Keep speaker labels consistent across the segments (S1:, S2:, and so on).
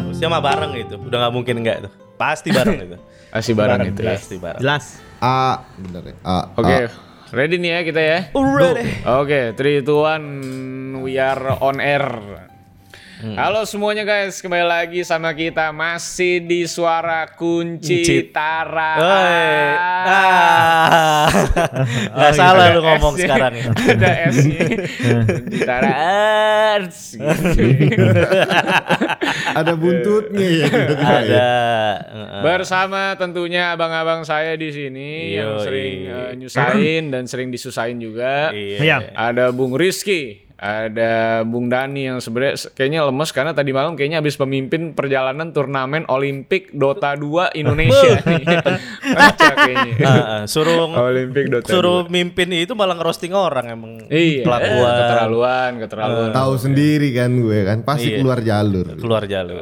S1: harusnya mah bareng itu udah nggak mungkin nggak itu pasti bareng itu
S2: Asli barang itu ya.
S1: pasti bareng
S3: Jelas.
S4: A bener ya. A,
S2: Oke,
S1: Ah.
S2: ready nih ya kita ya.
S1: Alright.
S2: Oke, 3 2 1 we are on air.
S1: Hmm.
S2: Halo semuanya guys, kembali lagi sama kita masih di suara kunci
S1: Kunci.
S2: Tara.
S1: Oi. Ah. Gak salah lu ngomong sekarang ya.
S2: Ada S Kunci Tara Arts. Gitu.
S4: ada buntutnya ya. tiba-tiba ya.
S1: Ada. heeh.
S2: Bersama tentunya abang-abang saya di sini
S1: Yoi.
S2: yang sering eh, nyusahin dan sering disusahin juga.
S1: Iya.
S3: Iya.
S2: Ada Bung Rizky, ada Bung Dani yang sebenarnya se- kayaknya lemes karena tadi malam kayaknya habis memimpin perjalanan turnamen Olimpik Dota 2 Indonesia. Kocak kayaknya.
S1: Heeh, Suruh
S2: Olimpik Dota
S1: Uh, suruh
S2: 2.
S1: mimpin itu malah ngerosting orang emang
S2: Iya,
S1: kelakuan
S2: keterlaluan, keterlaluan.
S1: Uh,
S4: Tahu sendiri kan gue kan pasti keluar jalur.
S1: keluar jalur.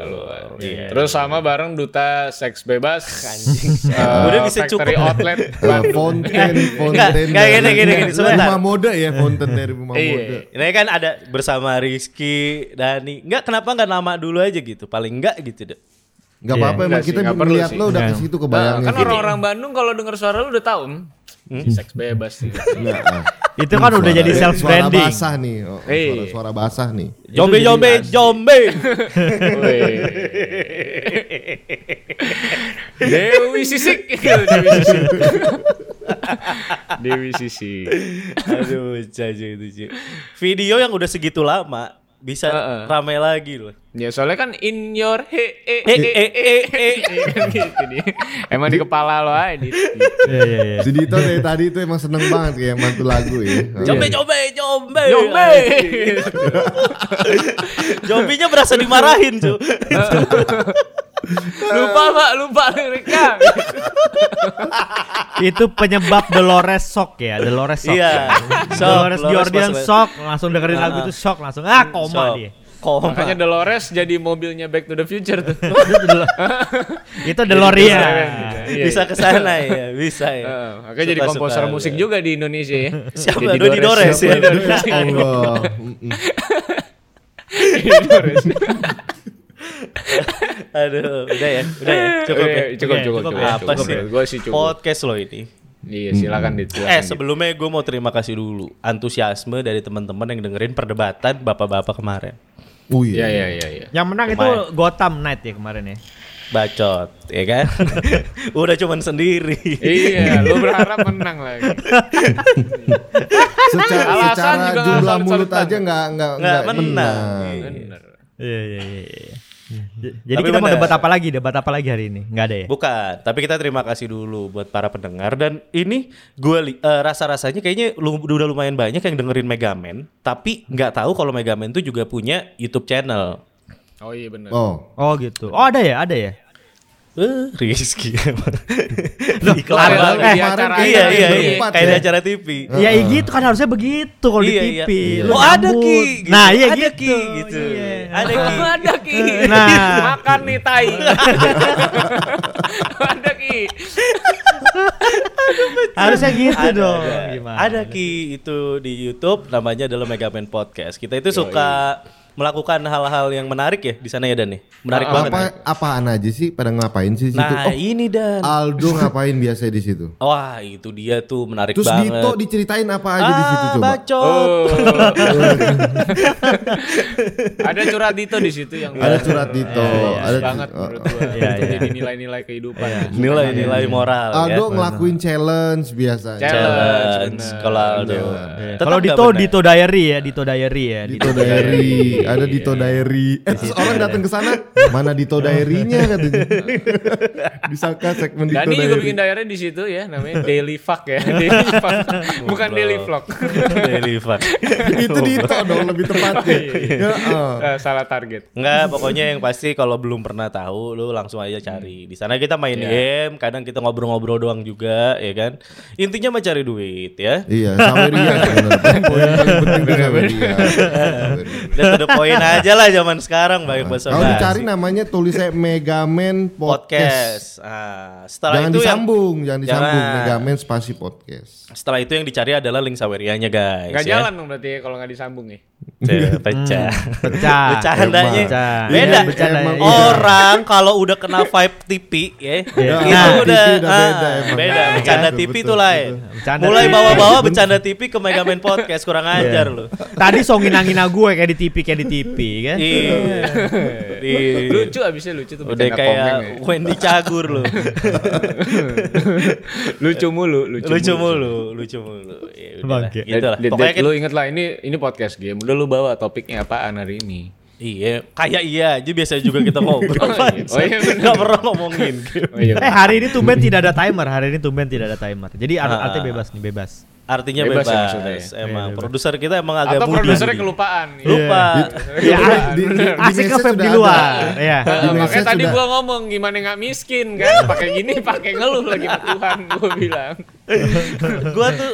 S1: Iya.
S2: Terus sama bareng duta seks bebas anjing.
S1: Udah bisa
S2: Factory
S1: cukup.
S2: outlet.
S4: Eh, Fonten,
S1: Enggak, enggak,
S4: fonten.
S1: gini,
S4: dari-
S1: gini, gini, sebentar.
S4: Rumah mode ya, fonten dari rumah
S2: Iya.
S4: mode.
S1: Ini kan ada bersama Rizky, Dani. Enggak kenapa enggak nama dulu aja gitu. Paling enggak gitu deh.
S4: Gak apa-apa, emang
S2: Enggak sih,
S4: kita
S2: nggak perlu
S4: melihat
S2: sih.
S4: lo udah ke situ kebayangnya.
S2: kan orang-orang Bandung kalau dengar suara lu udah tahu. hmm, Seks bebas sih.
S4: Nggak, ah.
S3: Itu kan udah jadi self
S4: Suara
S3: branding.
S4: basah nih, oh,
S2: Iya.
S4: suara, suara basah nih.
S1: Jombe jombe jombe.
S2: Wih. Dewi Sisik Dewi Sisik Dewi Sisik
S1: Aduh, caca itu cuy. Video yang udah segitu lama bisa
S2: Heeh.
S1: ramai lagi loh.
S2: Ya soalnya kan in your he e
S1: Eh eh eh eh.
S2: gitu dia. Emang di kepala lo aja di-
S3: Iya iya iya.
S4: Si Dito dari tadi itu emang seneng banget kayak mantu lagu ya.
S1: Jombe jombe jombe.
S2: Iya. Jombe
S1: Jombinya berasa dimarahin cuy.
S2: Lupa pak lupa liriknya
S3: Itu penyebab Dolores shock ya, Dolores shock.
S1: Iya. Lores
S3: Dolores Jordan
S1: masuk-
S3: shock, langsung dengerin lagu itu shock langsung ah
S1: Shock.
S3: koma dia.
S1: Koma.
S2: Makanya Dolores jadi mobilnya Back to the Future tuh
S3: Itu Dolo- Itu DeLorean.
S2: Iya,
S1: bisa
S2: iya.
S1: ke sana ya, bisa ya.
S2: Heeh, Makanya jadi
S1: Suka-suka
S2: komposer
S1: gua.
S2: musik juga di Indonesia ya
S1: Siapa?
S2: Jadi
S1: Dodi Dores ya.
S2: Siapa? Dodi Dores.
S4: Allah. Mm-mm.
S2: Dodi Dores.
S1: Aduh, udah ya, udah ya, cukup
S2: cukup
S1: ya.
S2: cukup
S3: Iya,
S2: cukup
S3: cukup
S2: cukup
S3: ya.
S1: Apa sih?
S2: gue sih cukup
S1: Podcast lo ini.
S2: iya silakan dit silakan
S1: Eh
S2: Dit.
S1: sebelumnya gue mau terima kasih dulu antusiasme dari teman-teman yang dengerin perdebatan bapak-bapak kemarin.
S4: Oh
S2: iya
S4: iya.
S2: iya iya iya
S3: Yang menang itu Gotham Knight ya kemarin ya.
S1: Bacot, ya kan? Udah cuman sendiri.
S2: iya lu berharap menang lagi
S4: Secara,
S2: Alasan
S4: secara
S2: juga nggak
S4: jumlah
S2: salut-salutan.
S4: mulut aja nggak
S2: Iya,
S4: nggak
S1: Nggak menang.
S2: bener
S3: Iya iya iya. iya. J- Jadi
S1: Tapi
S3: kita mau
S1: bener.
S3: debat apa lagi? Debat apa lagi hari ini? Enggak ada ya?
S1: Bukan, tapi kita terima kasih dulu buat para pendengar dan ini gue rasa-rasanya kayaknya lu, udah lumayan banyak yang dengerin Megaman, tapi nggak tahu kalau Megaman tuh juga punya YouTube channel.
S2: oh iya bener
S4: Oh.
S3: Oh gitu. Oh ada ya, ada ya.
S1: Eh, Rizky emang.
S2: Ada
S3: Iklan.
S2: lagi
S3: Eh,
S2: di acara
S1: iya
S2: ini.
S1: iya, iya.
S4: berempat
S1: kayak di
S4: ya.
S1: acara TV.
S3: Ya gitu kan harusnya begitu kalau
S1: Iya,
S3: di
S1: iya.
S3: TV. Lu
S1: Oh ada
S3: nyambung.
S1: ki,
S3: Nah, iya
S1: ada
S3: gitu.
S1: ki, gitu.
S3: Iya.
S1: Ada ki.
S2: ada ki
S3: Nah.
S2: makan nih tai ada ki
S3: Harusnya gitu
S1: ada,
S3: dong.
S1: Ada.
S3: Gimana?
S1: Ada ki itu di YouTube namanya adalah Megaman Podcast. Kita itu suka melakukan hal-hal yang menarik ya di sana ya Dan nih. Menarik banget.
S4: Apa apaan aja sih pada ngapain sih situ?
S1: Nah, ini Dan.
S4: Oh, Aldo ngapain biasa di situ?
S1: Wah, itu dia tuh menarik
S4: Terus
S1: banget.
S4: Dito diceritain apa aja
S1: ah,
S4: di situ coba?
S1: bacot.
S2: oh ada curhat Dito di situ yang
S4: Ada curhat Dito, ada
S2: ada banget
S4: curhat-
S2: menurut gua
S3: Iya,
S2: Itu
S3: iya.
S2: jadi nilai-nilai kehidupan
S1: Iya. Nilai-nilai moral
S4: Aldo
S1: ya.
S4: Ah, ngelakuin challenge biasa.
S1: Challenge
S2: Bener.
S1: kalau Aldo.
S3: Iya.
S1: Tetap
S3: Kalau
S1: nggak
S3: Dito
S1: benar.
S3: Dito Diary ya, Dito Diary ya.
S4: Dito Diary,
S1: Iya.
S4: ada Dito Diary. Eh, terus orang datang ke sana, mana Dito Diary-nya katanya. Disangka segmen
S1: Gitu
S4: Dito
S2: Dani juga bikin
S4: Diary.
S2: diary di situ ya, namanya Daily Fuck ya, Daily Fuck, bukan Daily Vlog.
S1: Daily fuck.
S4: Itu Dito dong lebih tepatnya.
S1: Iya,
S4: Ya, eh.
S2: Eh, salah target.
S1: Enggak, pokoknya yang pasti kalau belum pernah tahu lu langsung aja
S4: Hmm.
S1: cari. Di sana kita main
S4: Iya.
S1: game, kadang kita ngobrol-ngobrol doang juga, ya kan? Intinya mah cari duit ya.
S4: Iya, Saweria bener. Poin paling penting tuh Saweria. Saweria.
S1: Dan to the point aja lah zaman sekarang banyak bahasa
S4: Kalau dicari
S1: basi.
S4: namanya tulisnya Megaman Podcast.
S1: podcast. Ah, setelah
S4: Jangan
S1: itu yang
S4: disambung, jangan disambung.
S1: Jangan.
S4: Megaman spasi podcast.
S1: setelah itu yang dicari adalah link Sawerianya, guys.
S2: Nggak
S1: ya.
S2: jalan dong berarti ya, kalau nggak disambung ya.
S1: Tuh, pecah.
S3: Hmm. Pecah.
S1: Bercandanya.
S3: Pecah.
S1: Beda.
S3: Iya, bercandanya,
S4: Emang
S3: iya.
S1: Orang kalau udah kena vibe TV ya,
S3: Iya.
S1: itu
S3: Nah,
S1: udah, ah,
S4: TV udah beda emang.
S1: beda.
S4: Betul,
S1: Bercanda
S4: betul,
S1: TV
S4: betul,
S1: tuh lain.
S4: betul.
S3: Bercanda Iya.
S1: Mulai
S3: TV.
S1: bawa-bawa bercanda TV ke Megaman Podcast kurang ajar lu.
S3: Tadi songin angina gue kayak di TV kayak di TV kan.
S1: Iya. Iya.
S2: Lucu abisnya lucu tuh
S1: Udah
S2: bercanda
S1: kayak
S2: komeng ya.
S1: Wendy Cagur lu.
S2: lucu mulu, lucu,
S1: lucu mulu, lucu mulu. Ya, udahlah.
S3: Bangke.
S1: Gitu lah.
S2: Dit,
S1: Pokoknya
S2: Dit, lu inget lah ini ini podcast game. Udah lu bawa topiknya apaan hari ini?
S1: Iya, kayak iya aja biasa juga kita ngobrol.
S2: Oh iya, oh iya bener.
S1: Gak pernah ngomongin.
S2: Oh iya.
S3: Eh hari ini tumben tidak ada timer. Hari ini tumben tidak ada timer. Jadi ar-
S1: Ah.
S3: artinya bebas nih bebas.
S1: Artinya bebas,
S2: Bebas ya maksudnya ya?
S1: emang.
S3: Iya, bebas.
S1: Produser kita emang agak
S2: Atau
S1: moody.
S2: produsernya Iya. kelupaan.
S1: Lupa.
S3: Ya,
S4: Iya, di- di- di
S3: asik
S4: message
S3: nge-vape di
S4: udah
S3: luar.
S4: ada.
S3: Iya.
S4: Di
S2: Nah, makanya
S4: message
S2: tadi
S4: udah-
S2: gua ngomong gimana nggak miskin kan pakai gini pakai ngeluh lagi sama Tuhan gua bilang
S1: gua tuh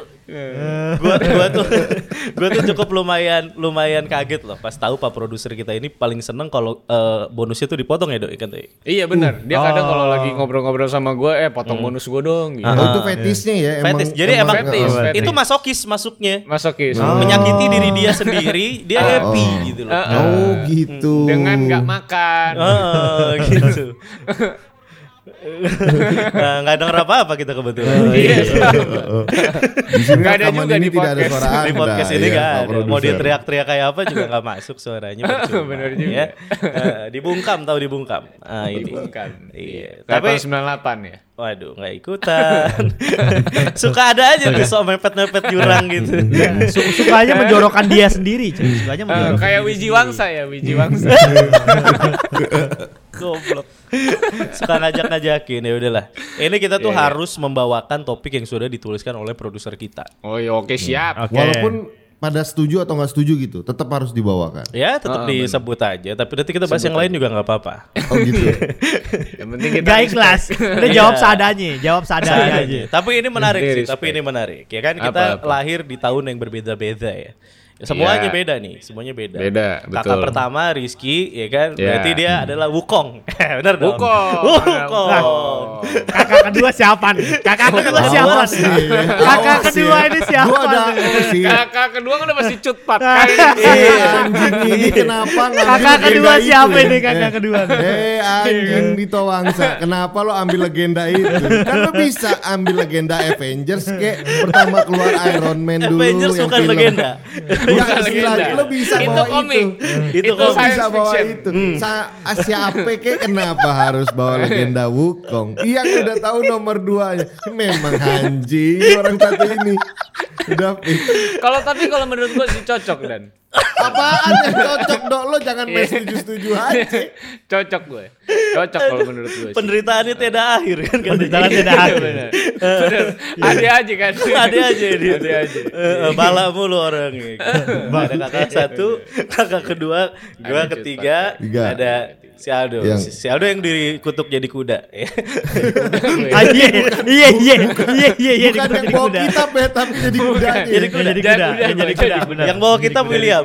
S1: gua gua tuh gua tuh cukup lumayan lumayan kaget loh pas tahu Pak produser kita ini paling seneng kalau eh, bonusnya tuh dipotong ya, Doi kan Doi.
S2: iya benar dia kadang kalau lagi ngobrol-ngobrol sama gua eh potong bonus gua dong gitu.
S4: Oh, itu fetishnya ya emang.
S1: Ah. Fetis. Jadi emang,
S2: Fetis,
S4: oh,
S2: fetis.
S1: itu masokis masuknya.
S2: masokis
S1: Menyakiti diri dia sendiri, dia happy
S4: Oh.
S1: gitu loh.
S2: Eh,
S4: Oh gitu.
S2: dengan nggak makan
S1: Oh, gitu. Nah, nggak denger apa-apa kita kebetulan.
S2: Iya.
S4: Di sini
S2: Nggak ada
S4: rekaman
S2: juga
S4: ini
S2: di
S4: tidak ada
S2: podcast.
S4: suara Anda.
S1: Di podcast
S2: Iya,
S1: ini
S4: ya,
S1: nggak
S4: Pak
S1: ada. Mau
S4: Produser.
S1: dia teriak-teriak kayak apa juga nggak masuk suaranya. percuma,
S2: Bener juga.
S1: ya. Eh, dibungkam tahu dibungkam. Ah, ini.
S2: Bukan.
S1: Iya.
S2: Tapi
S1: Tapi
S2: 98 ya.
S1: waduh nggak ikutan. Suka ada aja tuh sok mepet-mepet jurang gitu.
S4: Iya.
S3: Su- Sukanya menjorokkan dia sendiri. cuy. Sukanya
S1: Ah,
S2: Eh,
S3: menjorokkan.
S2: kayak Wiji Wangsa ya, Wiji Wangsa.
S1: Goblok. Suka ngajak-ngajakin ya udahlah. Ini kita
S2: Iya,
S1: tuh harus membawakan topik yang sudah dituliskan oleh produser kita.
S2: oh iya, oke siap.
S3: Oke.
S4: Walaupun pada setuju atau nggak setuju gitu, tetap harus dibawakan.
S1: Ya tetap
S2: Ah,
S1: disebut aja, tapi nanti kita bahas yang lain juga nggak apa-apa.
S4: Oh gitu.
S2: Yang penting kita
S3: Gak ikhlas. Udah
S1: Iya.
S3: jawab seadanya. Jawab
S2: Iya,
S3: seadanya
S1: Seadanya.
S3: aja.
S1: Tapi ini menarik
S2: Mesti
S1: sih,
S2: respect.
S1: tapi ini menarik. Ya kan kita
S2: Apa-apa.
S1: lahir di tahun yang berbeda-beda ya. Semuanya
S2: Iya.
S1: beda nih, semuanya beda.
S2: Beda,
S1: Kakak
S2: betul.
S1: pertama Rizky, ya kan?
S2: Iya.
S1: Berarti dia adalah Wukong. Bener dong.
S2: Wukong. Nah.
S1: Wukong.
S3: Kakak kedua siapa nih? Kakak kedua siapa
S4: Awas
S3: nih?
S4: nih.
S3: Kakak
S4: Awas
S3: kedua
S4: nih.
S3: ini
S1: Ya,
S3: siapa
S4: Gua ada
S3: nih?
S4: awas sih.
S2: Kakak kedua kan udah pasti cutpat.
S4: Eh, anjing ini kenapa ngambil
S3: Iya, Kakak
S4: legenda
S3: kedua
S4: itu?
S3: siapa ini kakak
S4: Eh,
S3: kedua? nih?
S4: Eh anjing Dito Wangsa Kenapa lo ambil legenda itu Kan lo bisa ambil legenda Avengers Kayak pertama keluar Iron Man dulu
S1: Avengers
S4: yang
S1: bukan
S4: film.
S1: legenda.
S4: Bukan legenda Lo bisa
S2: Itu
S4: bawa
S2: komik.
S4: itu
S1: Itu
S4: Lo
S1: komik.
S4: bisa
S2: science
S4: bawa
S2: fiction.
S4: itu Sa- ah, Siapa kayak kenapa harus bawa legenda Wukong Yang udah tahu nomor duanya Memang anjing orang satu ini Udah
S2: Kalau tapi kalau menurut gua sih cocok dan
S4: Apaan yang cocok dok Lo jangan main setuju-setuju aja
S2: cocok gue. Cocok kalau menurut gue. sih.
S1: Penderitaannya tidak akhir kan
S3: Penderitaan tidak ada.
S2: Bener. Bener. Ada aja kan.
S1: Ada aja dia.
S2: Ada aja.
S1: Eh, eh, bala mulu orangnya. ada kakak satu, kakak kedua, gua
S2: Ada
S1: ketiga,
S4: Tiga.
S1: ada si Aldo.
S4: Yang-
S1: Si Aldo yang dikutuk jadi kuda. Ya.
S3: Iya iya iya iya iya iya
S4: Bukan yang
S3: dikutuk
S4: bawa
S3: kuda.
S4: kita bet Tapi jadi kudanya
S1: jadi kuda.
S3: Jadi kuda.
S2: Jadi kuda,
S3: Jadi
S2: Bang.
S3: kuda. benar.
S1: yang bawa kita Iya. William.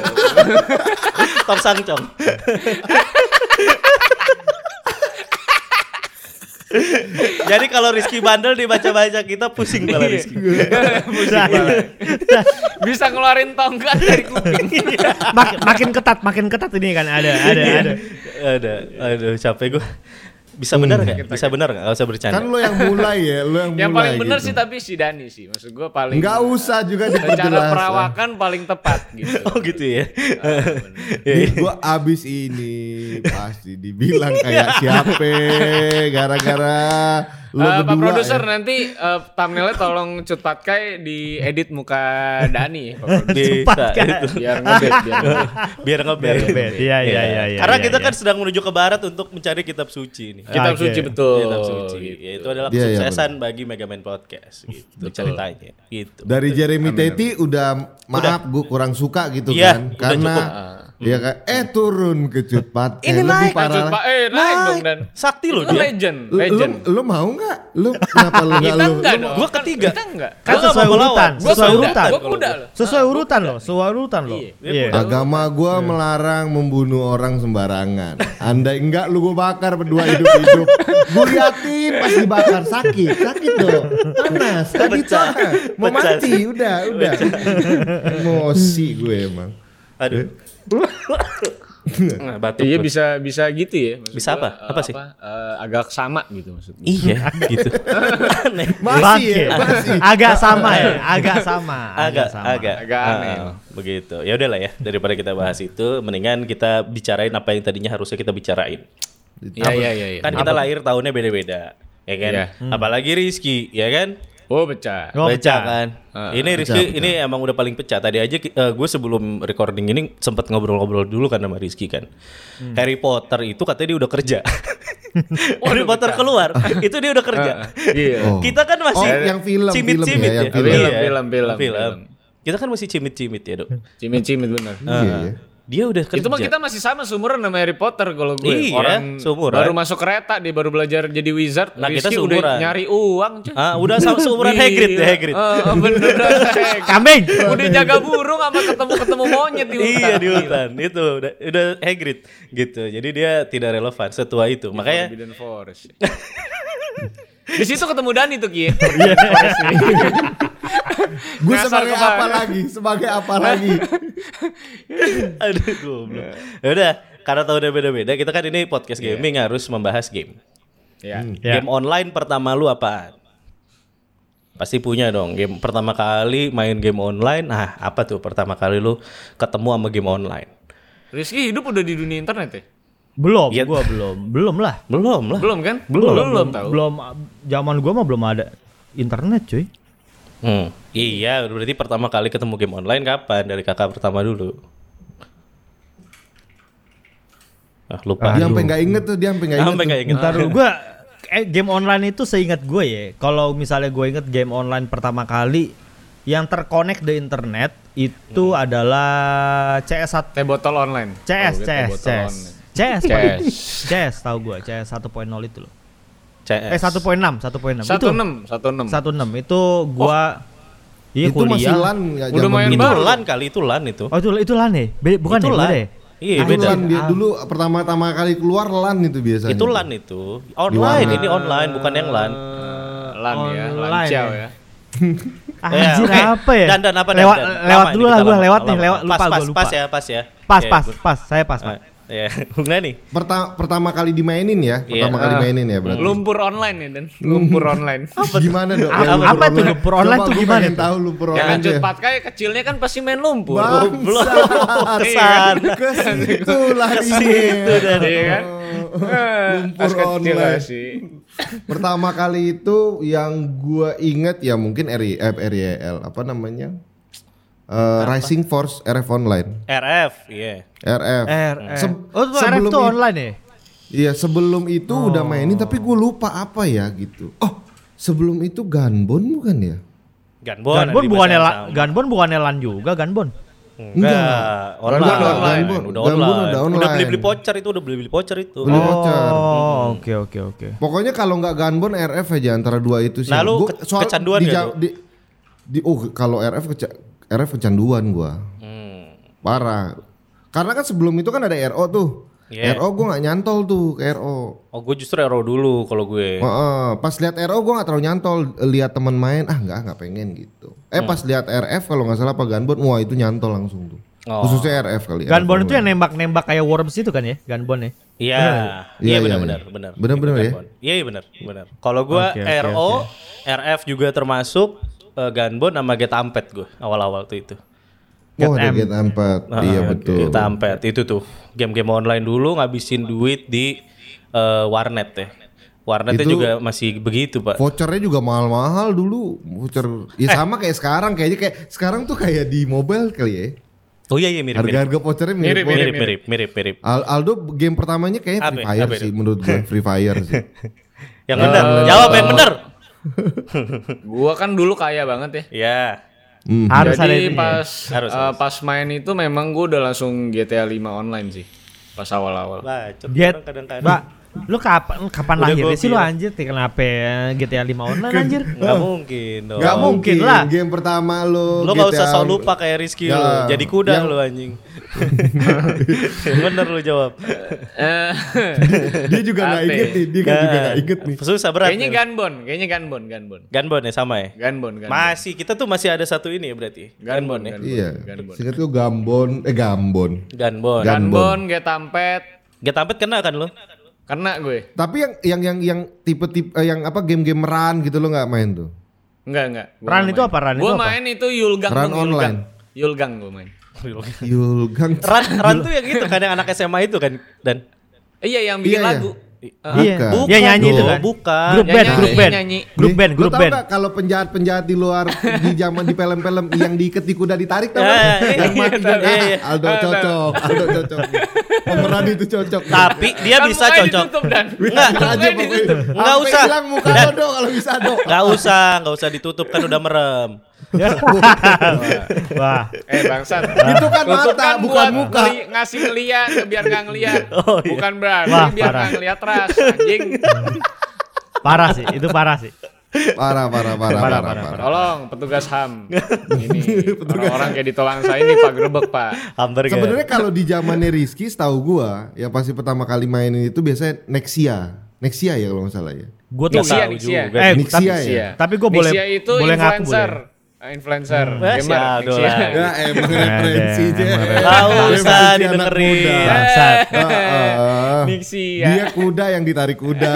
S1: Top Sangcong. Jadi kalau Rizky bandel dibaca-baca kita pusing malah Rizky.
S3: iya.
S2: Bisa ngeluarin tongkat dari kuping.
S3: Mak- makin ketat, makin ketat ini kan ada, ada, ada.
S1: Ada, aduh capek gua. Bisa benar nggak? Bisa benar nggak? Gak usah bercanda.
S4: Kan lo yang mulai ya, lo yang, mulai.
S2: Yang paling benar
S4: gitu.
S2: sih tapi si Dani sih. Maksud gue paling
S4: Nggak usah juga
S2: secara
S4: diperjelas. lah.
S2: perawakan paling tepat gitu.
S1: ah. Oh gitu ya.
S4: Ih, gua abis ini pasti dibilang kayak siapa gara-gara lo
S2: Eh, Pak
S4: berdua.
S2: produser
S4: ya.
S2: nanti eh, thumbnailnya tolong cut patkai di edit muka Dani ya, Pak produser.
S1: Bisa
S3: kan?
S1: itu.
S2: biar
S1: Biar
S2: ngebet biar ngebet.
S1: ngebet.
S3: Biar ngebet. Iya, iya, iya, iya,
S1: Karena
S3: iya,
S1: kita
S3: iya.
S1: kan sedang menuju ke barat untuk mencari kitab suci ini.
S2: Kitab
S3: Oke.
S2: suci betul.
S1: Kitab suci. Ya, itu adalah
S3: gitu.
S4: Iya, iya,
S1: kesuksesan bagi Megaman Podcast gitu ceritanya. Gitu.
S4: Dari Jeremy Teti udah maaf gue kurang suka gitu
S1: Iya,
S4: kan
S1: udah
S4: karena
S1: cukup.
S4: Iya kan? Eh turun ke Cutpat.
S3: Ini naik.
S2: Lanjut Pak, eh naik dong dan.
S1: Sakti loh
S2: Lu
S1: dia.
S2: legend,
S4: Lu, lu,
S2: legend.
S4: lu mau nggak? Lu kenapa lu nggak
S2: Kita
S4: lu?
S2: enggak
S1: lu-
S2: dong.
S1: gua ketiga.
S2: Kita enggak.
S3: Kan
S1: Gua
S3: sesuai
S1: nggak mau
S3: urutan,
S1: lawan.
S2: Gua
S3: sesuai
S2: kuda,
S3: urutan.
S2: gua kuda loh.
S3: Sesuai urutan loh, sesuai urutan loh.
S2: Iya.
S3: Iya.
S4: Agama gua melarang membunuh orang sembarangan. Andai enggak lu gua bakar berdua hidup-hidup. gua liatin pas dibakar sakit, sakit dong. Panas, tadi
S1: Pecah.
S4: tuh, Mau
S1: Pecah.
S4: mati, udah, udah. Emosi gue emang.
S1: Aduh. Nah, batuk.
S2: Iya
S1: gua.
S2: bisa bisa gitu ya. Maksud
S1: Bisa
S2: gua,
S1: apa?
S2: eh,
S1: Apa sih?
S2: eh, agak sama gitu maksudnya.
S1: Iya, gitu. Aneh.
S4: Masih ya,
S3: Bangke.
S4: masih.
S3: Agak sama ya, agak sama.
S1: agak agak
S2: Agak
S1: Ah,
S2: aneh.
S1: begitu ya udahlah ya daripada kita bahas itu mendingan kita bicarain apa yang tadinya harusnya kita bicarain
S2: Iya iya iya. iya.
S1: kan kita lahir tahunnya beda-beda ya kan
S2: Iya.
S1: apalagi Rizky ya kan
S2: Oh pecah. Ah,
S3: Oh,
S1: pecah
S3: pecah.
S1: kan ini Rizky ini emang udah paling pecah tadi aja gue sebelum recording ini sempat ngobrol-ngobrol dulu kan sama Rizky kan
S2: Hmm.
S1: Harry Potter itu katanya dia udah kerja Harry Potter keluar itu dia udah kerja
S2: Iya.
S4: Oh.
S1: kita kan masih
S4: Oh, yang film, film
S1: cimit-cimit
S4: ya, yang
S1: ya,
S4: film.
S1: Iya,
S2: Film, film, film.
S1: kita kan masih cimit-cimit ya dok Ah.
S2: Cimit-cimit benar.
S4: Iya, ya.
S1: dia udah kerja
S2: Itu mah kita masih sama seumuran sama Harry Potter kalau gue.
S1: Eh, Iya,
S2: Orang
S1: seumuran.
S2: baru masuk kereta dia baru belajar jadi wizard.
S1: Nah, kita
S2: Rizky
S1: seumuran.
S2: udah nyari uang. cuy. Iya.
S1: Ah, udah sama seumuran Hagrid ya
S2: Gila.
S1: Hagrid.
S2: Eh, bener udah Hagrid.
S3: Kambing.
S2: Udah jaga burung sama ketemu-ketemu monyet di hutan.
S1: iya di hutan itu udah, udah Hagrid gitu. Jadi dia tidak relevan setua itu. Makanya
S2: Forbidden Forest. di situ ketemu Dani tuh Ki.
S4: Gue
S2: Nyasar
S4: sebagai
S2: kemana?
S4: apa lagi? Sebagai apa lagi?
S1: aduh goblok.
S3: Iya.
S1: Ya udah, karena tahu udah beda-beda, kita kan ini podcast gaming harus membahas game.
S2: ya.
S3: Ya.
S1: Game online pertama lu apaan? Pasti punya dong. Game pertama kali main game online, nah apa tuh pertama kali lu ketemu sama game online?
S2: Rizky hidup udah di dunia internet ya?
S3: Belum,
S1: Iya.
S3: gua belum. Belum lah.
S1: Belum lah.
S2: Belum kan?
S1: Belum.
S2: Belum, belum tahu.
S3: Belum ah, zaman gua mah belum ada internet, cuy.
S1: Hmm. Iya, berarti pertama kali ketemu game online kapan? Dari kakak pertama dulu. Ah, lupa.
S4: Dia sampai nggak inget tuh, dia sampai nggak
S1: Sampai
S4: inget.
S1: nggak inget.
S3: Ntar dulu gua eh, game online itu seingat gue ya. Kalau misalnya gue inget game online pertama kali yang terkonek di internet itu
S1: Hmm.
S3: adalah CS1
S2: Teh botol online.
S3: CS
S2: Kalau gue teh
S3: CS
S2: botol
S3: CS
S2: online.
S3: CS
S2: Yes.
S3: CS tahu gue CS 1.0 itu loh.
S1: CS.
S3: Eh 1.6 1.6 itu.
S2: 16, 16.
S3: 1.6 itu gua
S1: Oh,
S3: iya
S4: Itu masih
S3: kuliah.
S4: lan nggak
S2: Udah
S4: zaman
S2: main
S4: dulu.
S1: itu
S2: baru.
S1: LAN kan kali itu LAN itu.
S3: Oh itu itu lan ya? Be- bukan
S1: itu
S3: ya?
S1: LAN.
S3: Beda ya?
S1: Iya,
S4: Itu
S1: beda.
S4: lan dia dulu pertama-tama kali keluar lan itu biasanya.
S1: Itu LAN itu. Online ini online bukan yang LAN.
S2: Eh, lan ya, lan
S3: Online
S2: ciao
S3: ya.
S2: ya.
S3: Ah, Anjir
S1: Eh,
S3: apa ya?
S1: Dan dan apa dan,
S3: lewat
S1: dan.
S3: lewat
S1: Lama
S3: dulu
S1: ini
S3: lah
S1: kita
S3: gua
S1: lama,
S3: lewat nih
S1: lama.
S3: lewat lupa
S1: pas,
S3: gua
S1: pas,
S3: lupa.
S1: pas ya, pas ya.
S3: Pas
S1: Ya,
S3: pas
S1: gua-
S3: pas saya pas Pak.
S1: Ah, Ya, bunga nih.
S4: Pertama pertama kali dimainin
S1: Iya.
S4: ya, pertama kali mainin ya berarti.
S2: Lumpur online ya dan lumpur online.
S4: gimana dong?
S3: Apa- apa itu lumpur online tuh gimana
S4: pengen
S3: tuh?
S4: tahu lumpur
S2: Ya
S4: online
S2: kan
S4: tuh ya.
S2: cepat kayak kecilnya kan pasti main lumpur.
S4: Bangsat.
S1: Kesan.
S4: Ke situ lah
S1: Ke
S4: dia.
S1: situ dah.
S2: Iya kan? Eh,
S4: Lumpur
S2: pas kecil
S4: online.
S2: lah sih.
S4: Pertama kali itu yang gua inget ya mungkin RI eh, RIL apa namanya? Eh, Rising Force RF Online.
S1: RF, iya.
S4: RF.
S3: R
S2: Hmm.
S4: Se-
S3: Oh itu RF
S4: sebelum
S3: tuh
S4: i-
S3: online ya?
S4: Iya sebelum itu udah mainin tapi gue lupa apa ya gitu. Oh sebelum itu Gunbon bukan ya?
S1: Gunbon.
S3: Gunbon
S1: ada di
S3: bukannya
S1: Batam
S3: lan, Gunbon bukannya lan juga Gunbon.
S1: Enggak, online.
S4: Gunbon
S1: Udah
S4: online.
S1: online. Udah
S4: Gunbon
S1: online.
S4: udah
S1: Udah
S4: online.
S1: beli-beli voucher itu, udah beli-beli voucher itu.
S4: Beli voucher.
S3: Oh oke oke oke.
S4: Pokoknya kalau nggak Gunbon RF aja antara dua itu sih.
S1: Nah, lu
S4: Gua
S1: ke- kecanduan
S4: di,
S1: nggak
S4: ja-
S1: tuh?
S4: di, di- oh kalau RF keca- RF kecanduan gua.
S1: Hmm.
S4: Parah. Karena kan sebelum itu kan ada RO tuh.
S1: Iya.
S4: RO gue nggak nyantol tuh ke RO.
S1: Oh, gue justru RO dulu kalau gue.
S4: Heeh, pas lihat RO gue nggak terlalu nyantol lihat teman main ah nggak nggak pengen gitu.
S1: Hmm.
S4: Eh pas lihat RF kalau nggak salah apa Gunbon wah itu nyantol langsung tuh.
S1: Oh.
S4: Khususnya RF kali. ya.
S3: Gunbon itu yang nembak-nembak kayak worms itu kan ya? Gunbon ya?
S1: Iya,
S4: Iya,
S1: iya
S4: iya,
S1: benar-benar,
S4: iya.
S1: benar.
S4: Benar-benar ya?
S1: Gunbon. Iya, iya benar, benar. Kalau gua
S3: Oke, oke,
S1: RO, RF juga termasuk eh, Gunbon sama Get Ampet gue awal-awal tuh itu.
S4: Oh ada Get Ampet.
S1: Ah,
S4: iya betul.
S1: Get Ampet itu tuh game-game online dulu ngabisin duit di eh, warnet ya. Warnetnya
S4: Itu-
S1: juga masih begitu, Pak.
S4: Vouchernya juga mahal-mahal dulu. Voucher ya sama kayak sekarang kayaknya kayak sekarang tuh kayak di mobile kali ya.
S1: Oh iya iya mirip-mirip.
S4: Harga-harga vouchernya mirip. banget.
S1: Mirip-mirip, mirip-mirip.
S4: Al- Aldo game pertamanya kayaknya Free
S1: Apa-
S4: Fire
S1: apa
S4: sih menurut gue Free Fire sih.
S1: Yang benar, jawab yang benar.
S2: Gua kan dulu kaya banget ya.
S1: Ya.
S4: Hmm.
S3: Harus ada
S2: Jadi
S3: itu.
S2: pas
S1: Harus,
S2: eh,
S1: harus.
S2: pas main itu memang gue udah langsung GTA 5 online sih pas awal-awal.
S1: Bacot
S3: Get,
S1: orang kadang-kadang.
S3: Mbak, lu kapan kapan
S1: Udah
S3: lahirnya
S1: gua
S3: sih lu
S1: bilang.
S3: anjir? Ti, Kenapa ya GTA 5 online
S4: Kan
S3: anjir?
S1: Nggak mungkin dong.
S4: Gak mungkin
S3: mungkin lah.
S4: Game pertama lu
S1: Lo gak
S4: GTA
S1: usah sok lupa kayak Rizky lo.
S4: Gitu. Ya.
S1: Jadi kuda
S4: Yang-
S1: lo anjing. Bener lo jawab.
S2: Eh,
S4: Dia juga gak
S2: Apa?
S4: inget nih Dia kan juga gak
S1: Nah,
S4: inget nih
S1: Susah berat.
S2: kayaknya
S1: nih.
S2: Gunbon, kayaknya Gunbon, Gunbon.
S1: Gunbon ya sama ya.
S2: Gunbon, Gunbon.
S1: Masih kita tuh masih ada satu ini ya berarti.
S2: Gunbon,
S1: ya.
S2: Gunbon.
S4: Iya
S2: Gunbon.
S4: Singkat gue Gambon Eh Gambon
S1: Gunbon.
S4: Gun-
S2: Gunbon, kayak tampet.
S1: Get tampet kena kan lo?
S2: Kena gue.
S4: Tapi yang yang yang yang tipe-tipe eh, yang apa game-game run gitu lo nggak main tuh?
S2: Enggak, enggak.
S3: Run itu apa? Run itu
S2: Gue
S3: apa?
S2: main itu Yulgang.
S4: Run
S2: dong, Yulgang.
S4: online.
S2: Yulgang gue main.
S4: Yulgang
S1: Ran, ran tuh yang itu kan yang anak SMA itu kan dan
S2: Iya yang bikin
S4: Iya, iya.
S2: lagu.
S3: Iya,
S4: Bukan.
S3: ya nyanyi itu
S1: dong,
S3: kan.
S1: Bukan.
S3: Grup
S2: Ya,
S3: band,
S2: nyanyi,
S3: grup band.
S2: nyanyi.
S3: Grup
S4: Nih,
S3: band,
S4: lu
S3: grup
S4: tau
S3: band.
S4: nggak kalau penjahat-penjahat di luar di zaman di film-film yang diikat di kuda ditarik tau
S1: Ya,
S4: nggak?
S1: iya,
S4: yang
S1: iya,
S4: mati
S1: iya,
S4: kan ah,
S1: iya.
S4: Aldo cocok, Aldo cocok. Pemeran itu cocok.
S1: Tapi dia
S2: Kan
S1: bisa
S2: mukanya
S1: cocok.
S2: ditutup, Dan.
S1: Enggak.
S4: Bisa Iya, aja
S2: Mukanya
S4: pokoknya.
S2: ditutup.
S1: Nggak
S4: Sampai
S1: usah.
S4: Hilang muka
S1: Dan-
S4: lo dong kalau bisa dong.
S1: Gak usah, gak usah ditutup kan udah merem.
S3: Wah,
S2: Eh bangsat.
S4: Itu kan
S2: Tutup
S4: mata, bukan
S2: buat
S4: muka.
S2: ngeli- ngasih ngeliat biar nggak ngeliat.
S1: Oh, iya.
S2: Bukan berarti
S3: Wah,
S2: biar
S3: parah.
S2: nggak ngeliat ras. Anjing.
S3: parah sih, itu parah sih.
S4: Parah, parah, parah, parah, parah.
S2: Tolong petugas HAM. Ini orang-orang kayak di Tolang saya ini Pak Grebek, Pak.
S1: Hamburger.
S4: Sebenarnya kalau di zamannya Rizky, setahu gua, ya pasti pertama kali mainin itu biasanya Nexia. Nexia ya kalau nggak salah ya.
S3: Gua
S1: Nggak
S3: tuh
S2: Nixia,
S1: tahu
S2: Nixia.
S1: juga.
S3: eh
S4: Nixia
S3: tapi
S4: ya?
S2: Nixia.
S3: tapi gua boleh-
S2: Iya. Nixia itu
S3: boleh ngaku, Hmm.
S2: influencer. Ah, Influencer.
S1: Wah,
S2: Gamer,
S1: siado
S2: Nixia.
S1: lah.
S4: Ya emang referensi
S3: emang
S4: aja.
S3: referensi.
S1: Nggak
S4: Emang
S1: usah
S4: referensi anak
S1: didengerin.
S4: muda.
S3: bangsat.
S4: Heeh.
S1: ya.
S2: Nixia.
S4: Dia kuda yang ditarik kuda.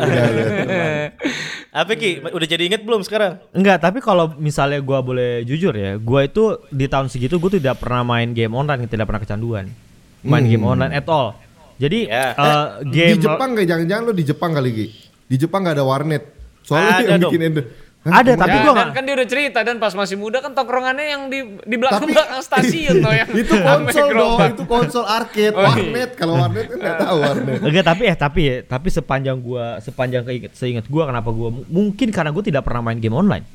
S4: Udah, udah.
S1: Apa Ki? Udah jadi inget belum sekarang?
S3: Enggak, tapi kalau misalnya gua boleh jujur ya, gua itu di tahun segitu gua tidak pernah main game online, tidak pernah kecanduan. Main game online at all. Jadi
S1: Ya.
S3: eh,
S4: Di
S3: game
S4: Jepang kayak jangan-jangan lo di Jepang kali Gi. Di Jepang gak ada warnet. Soalnya
S1: Ada
S4: yang
S1: dong.
S4: bikin endo. Hah?
S3: ada tapi
S2: Ya,
S3: gua
S2: dan
S3: nggak-
S2: kan dia udah cerita dan pas masih muda kan tongkrongannya yang di di belakang
S4: Tapi-
S2: belakang stasiun loh yang
S4: itu
S2: sampai
S4: konsol dong,
S2: Oh, iya. gerobak.
S4: itu konsol arcade,
S2: Oh, iya.
S4: warnet. Kalau warnet kan gak tahu warnet.
S3: Enggak tapi eh tapi ya, tapi sepanjang gua sepanjang keinget seingat gua kenapa gua mu- mungkin karena gua tidak pernah main game online.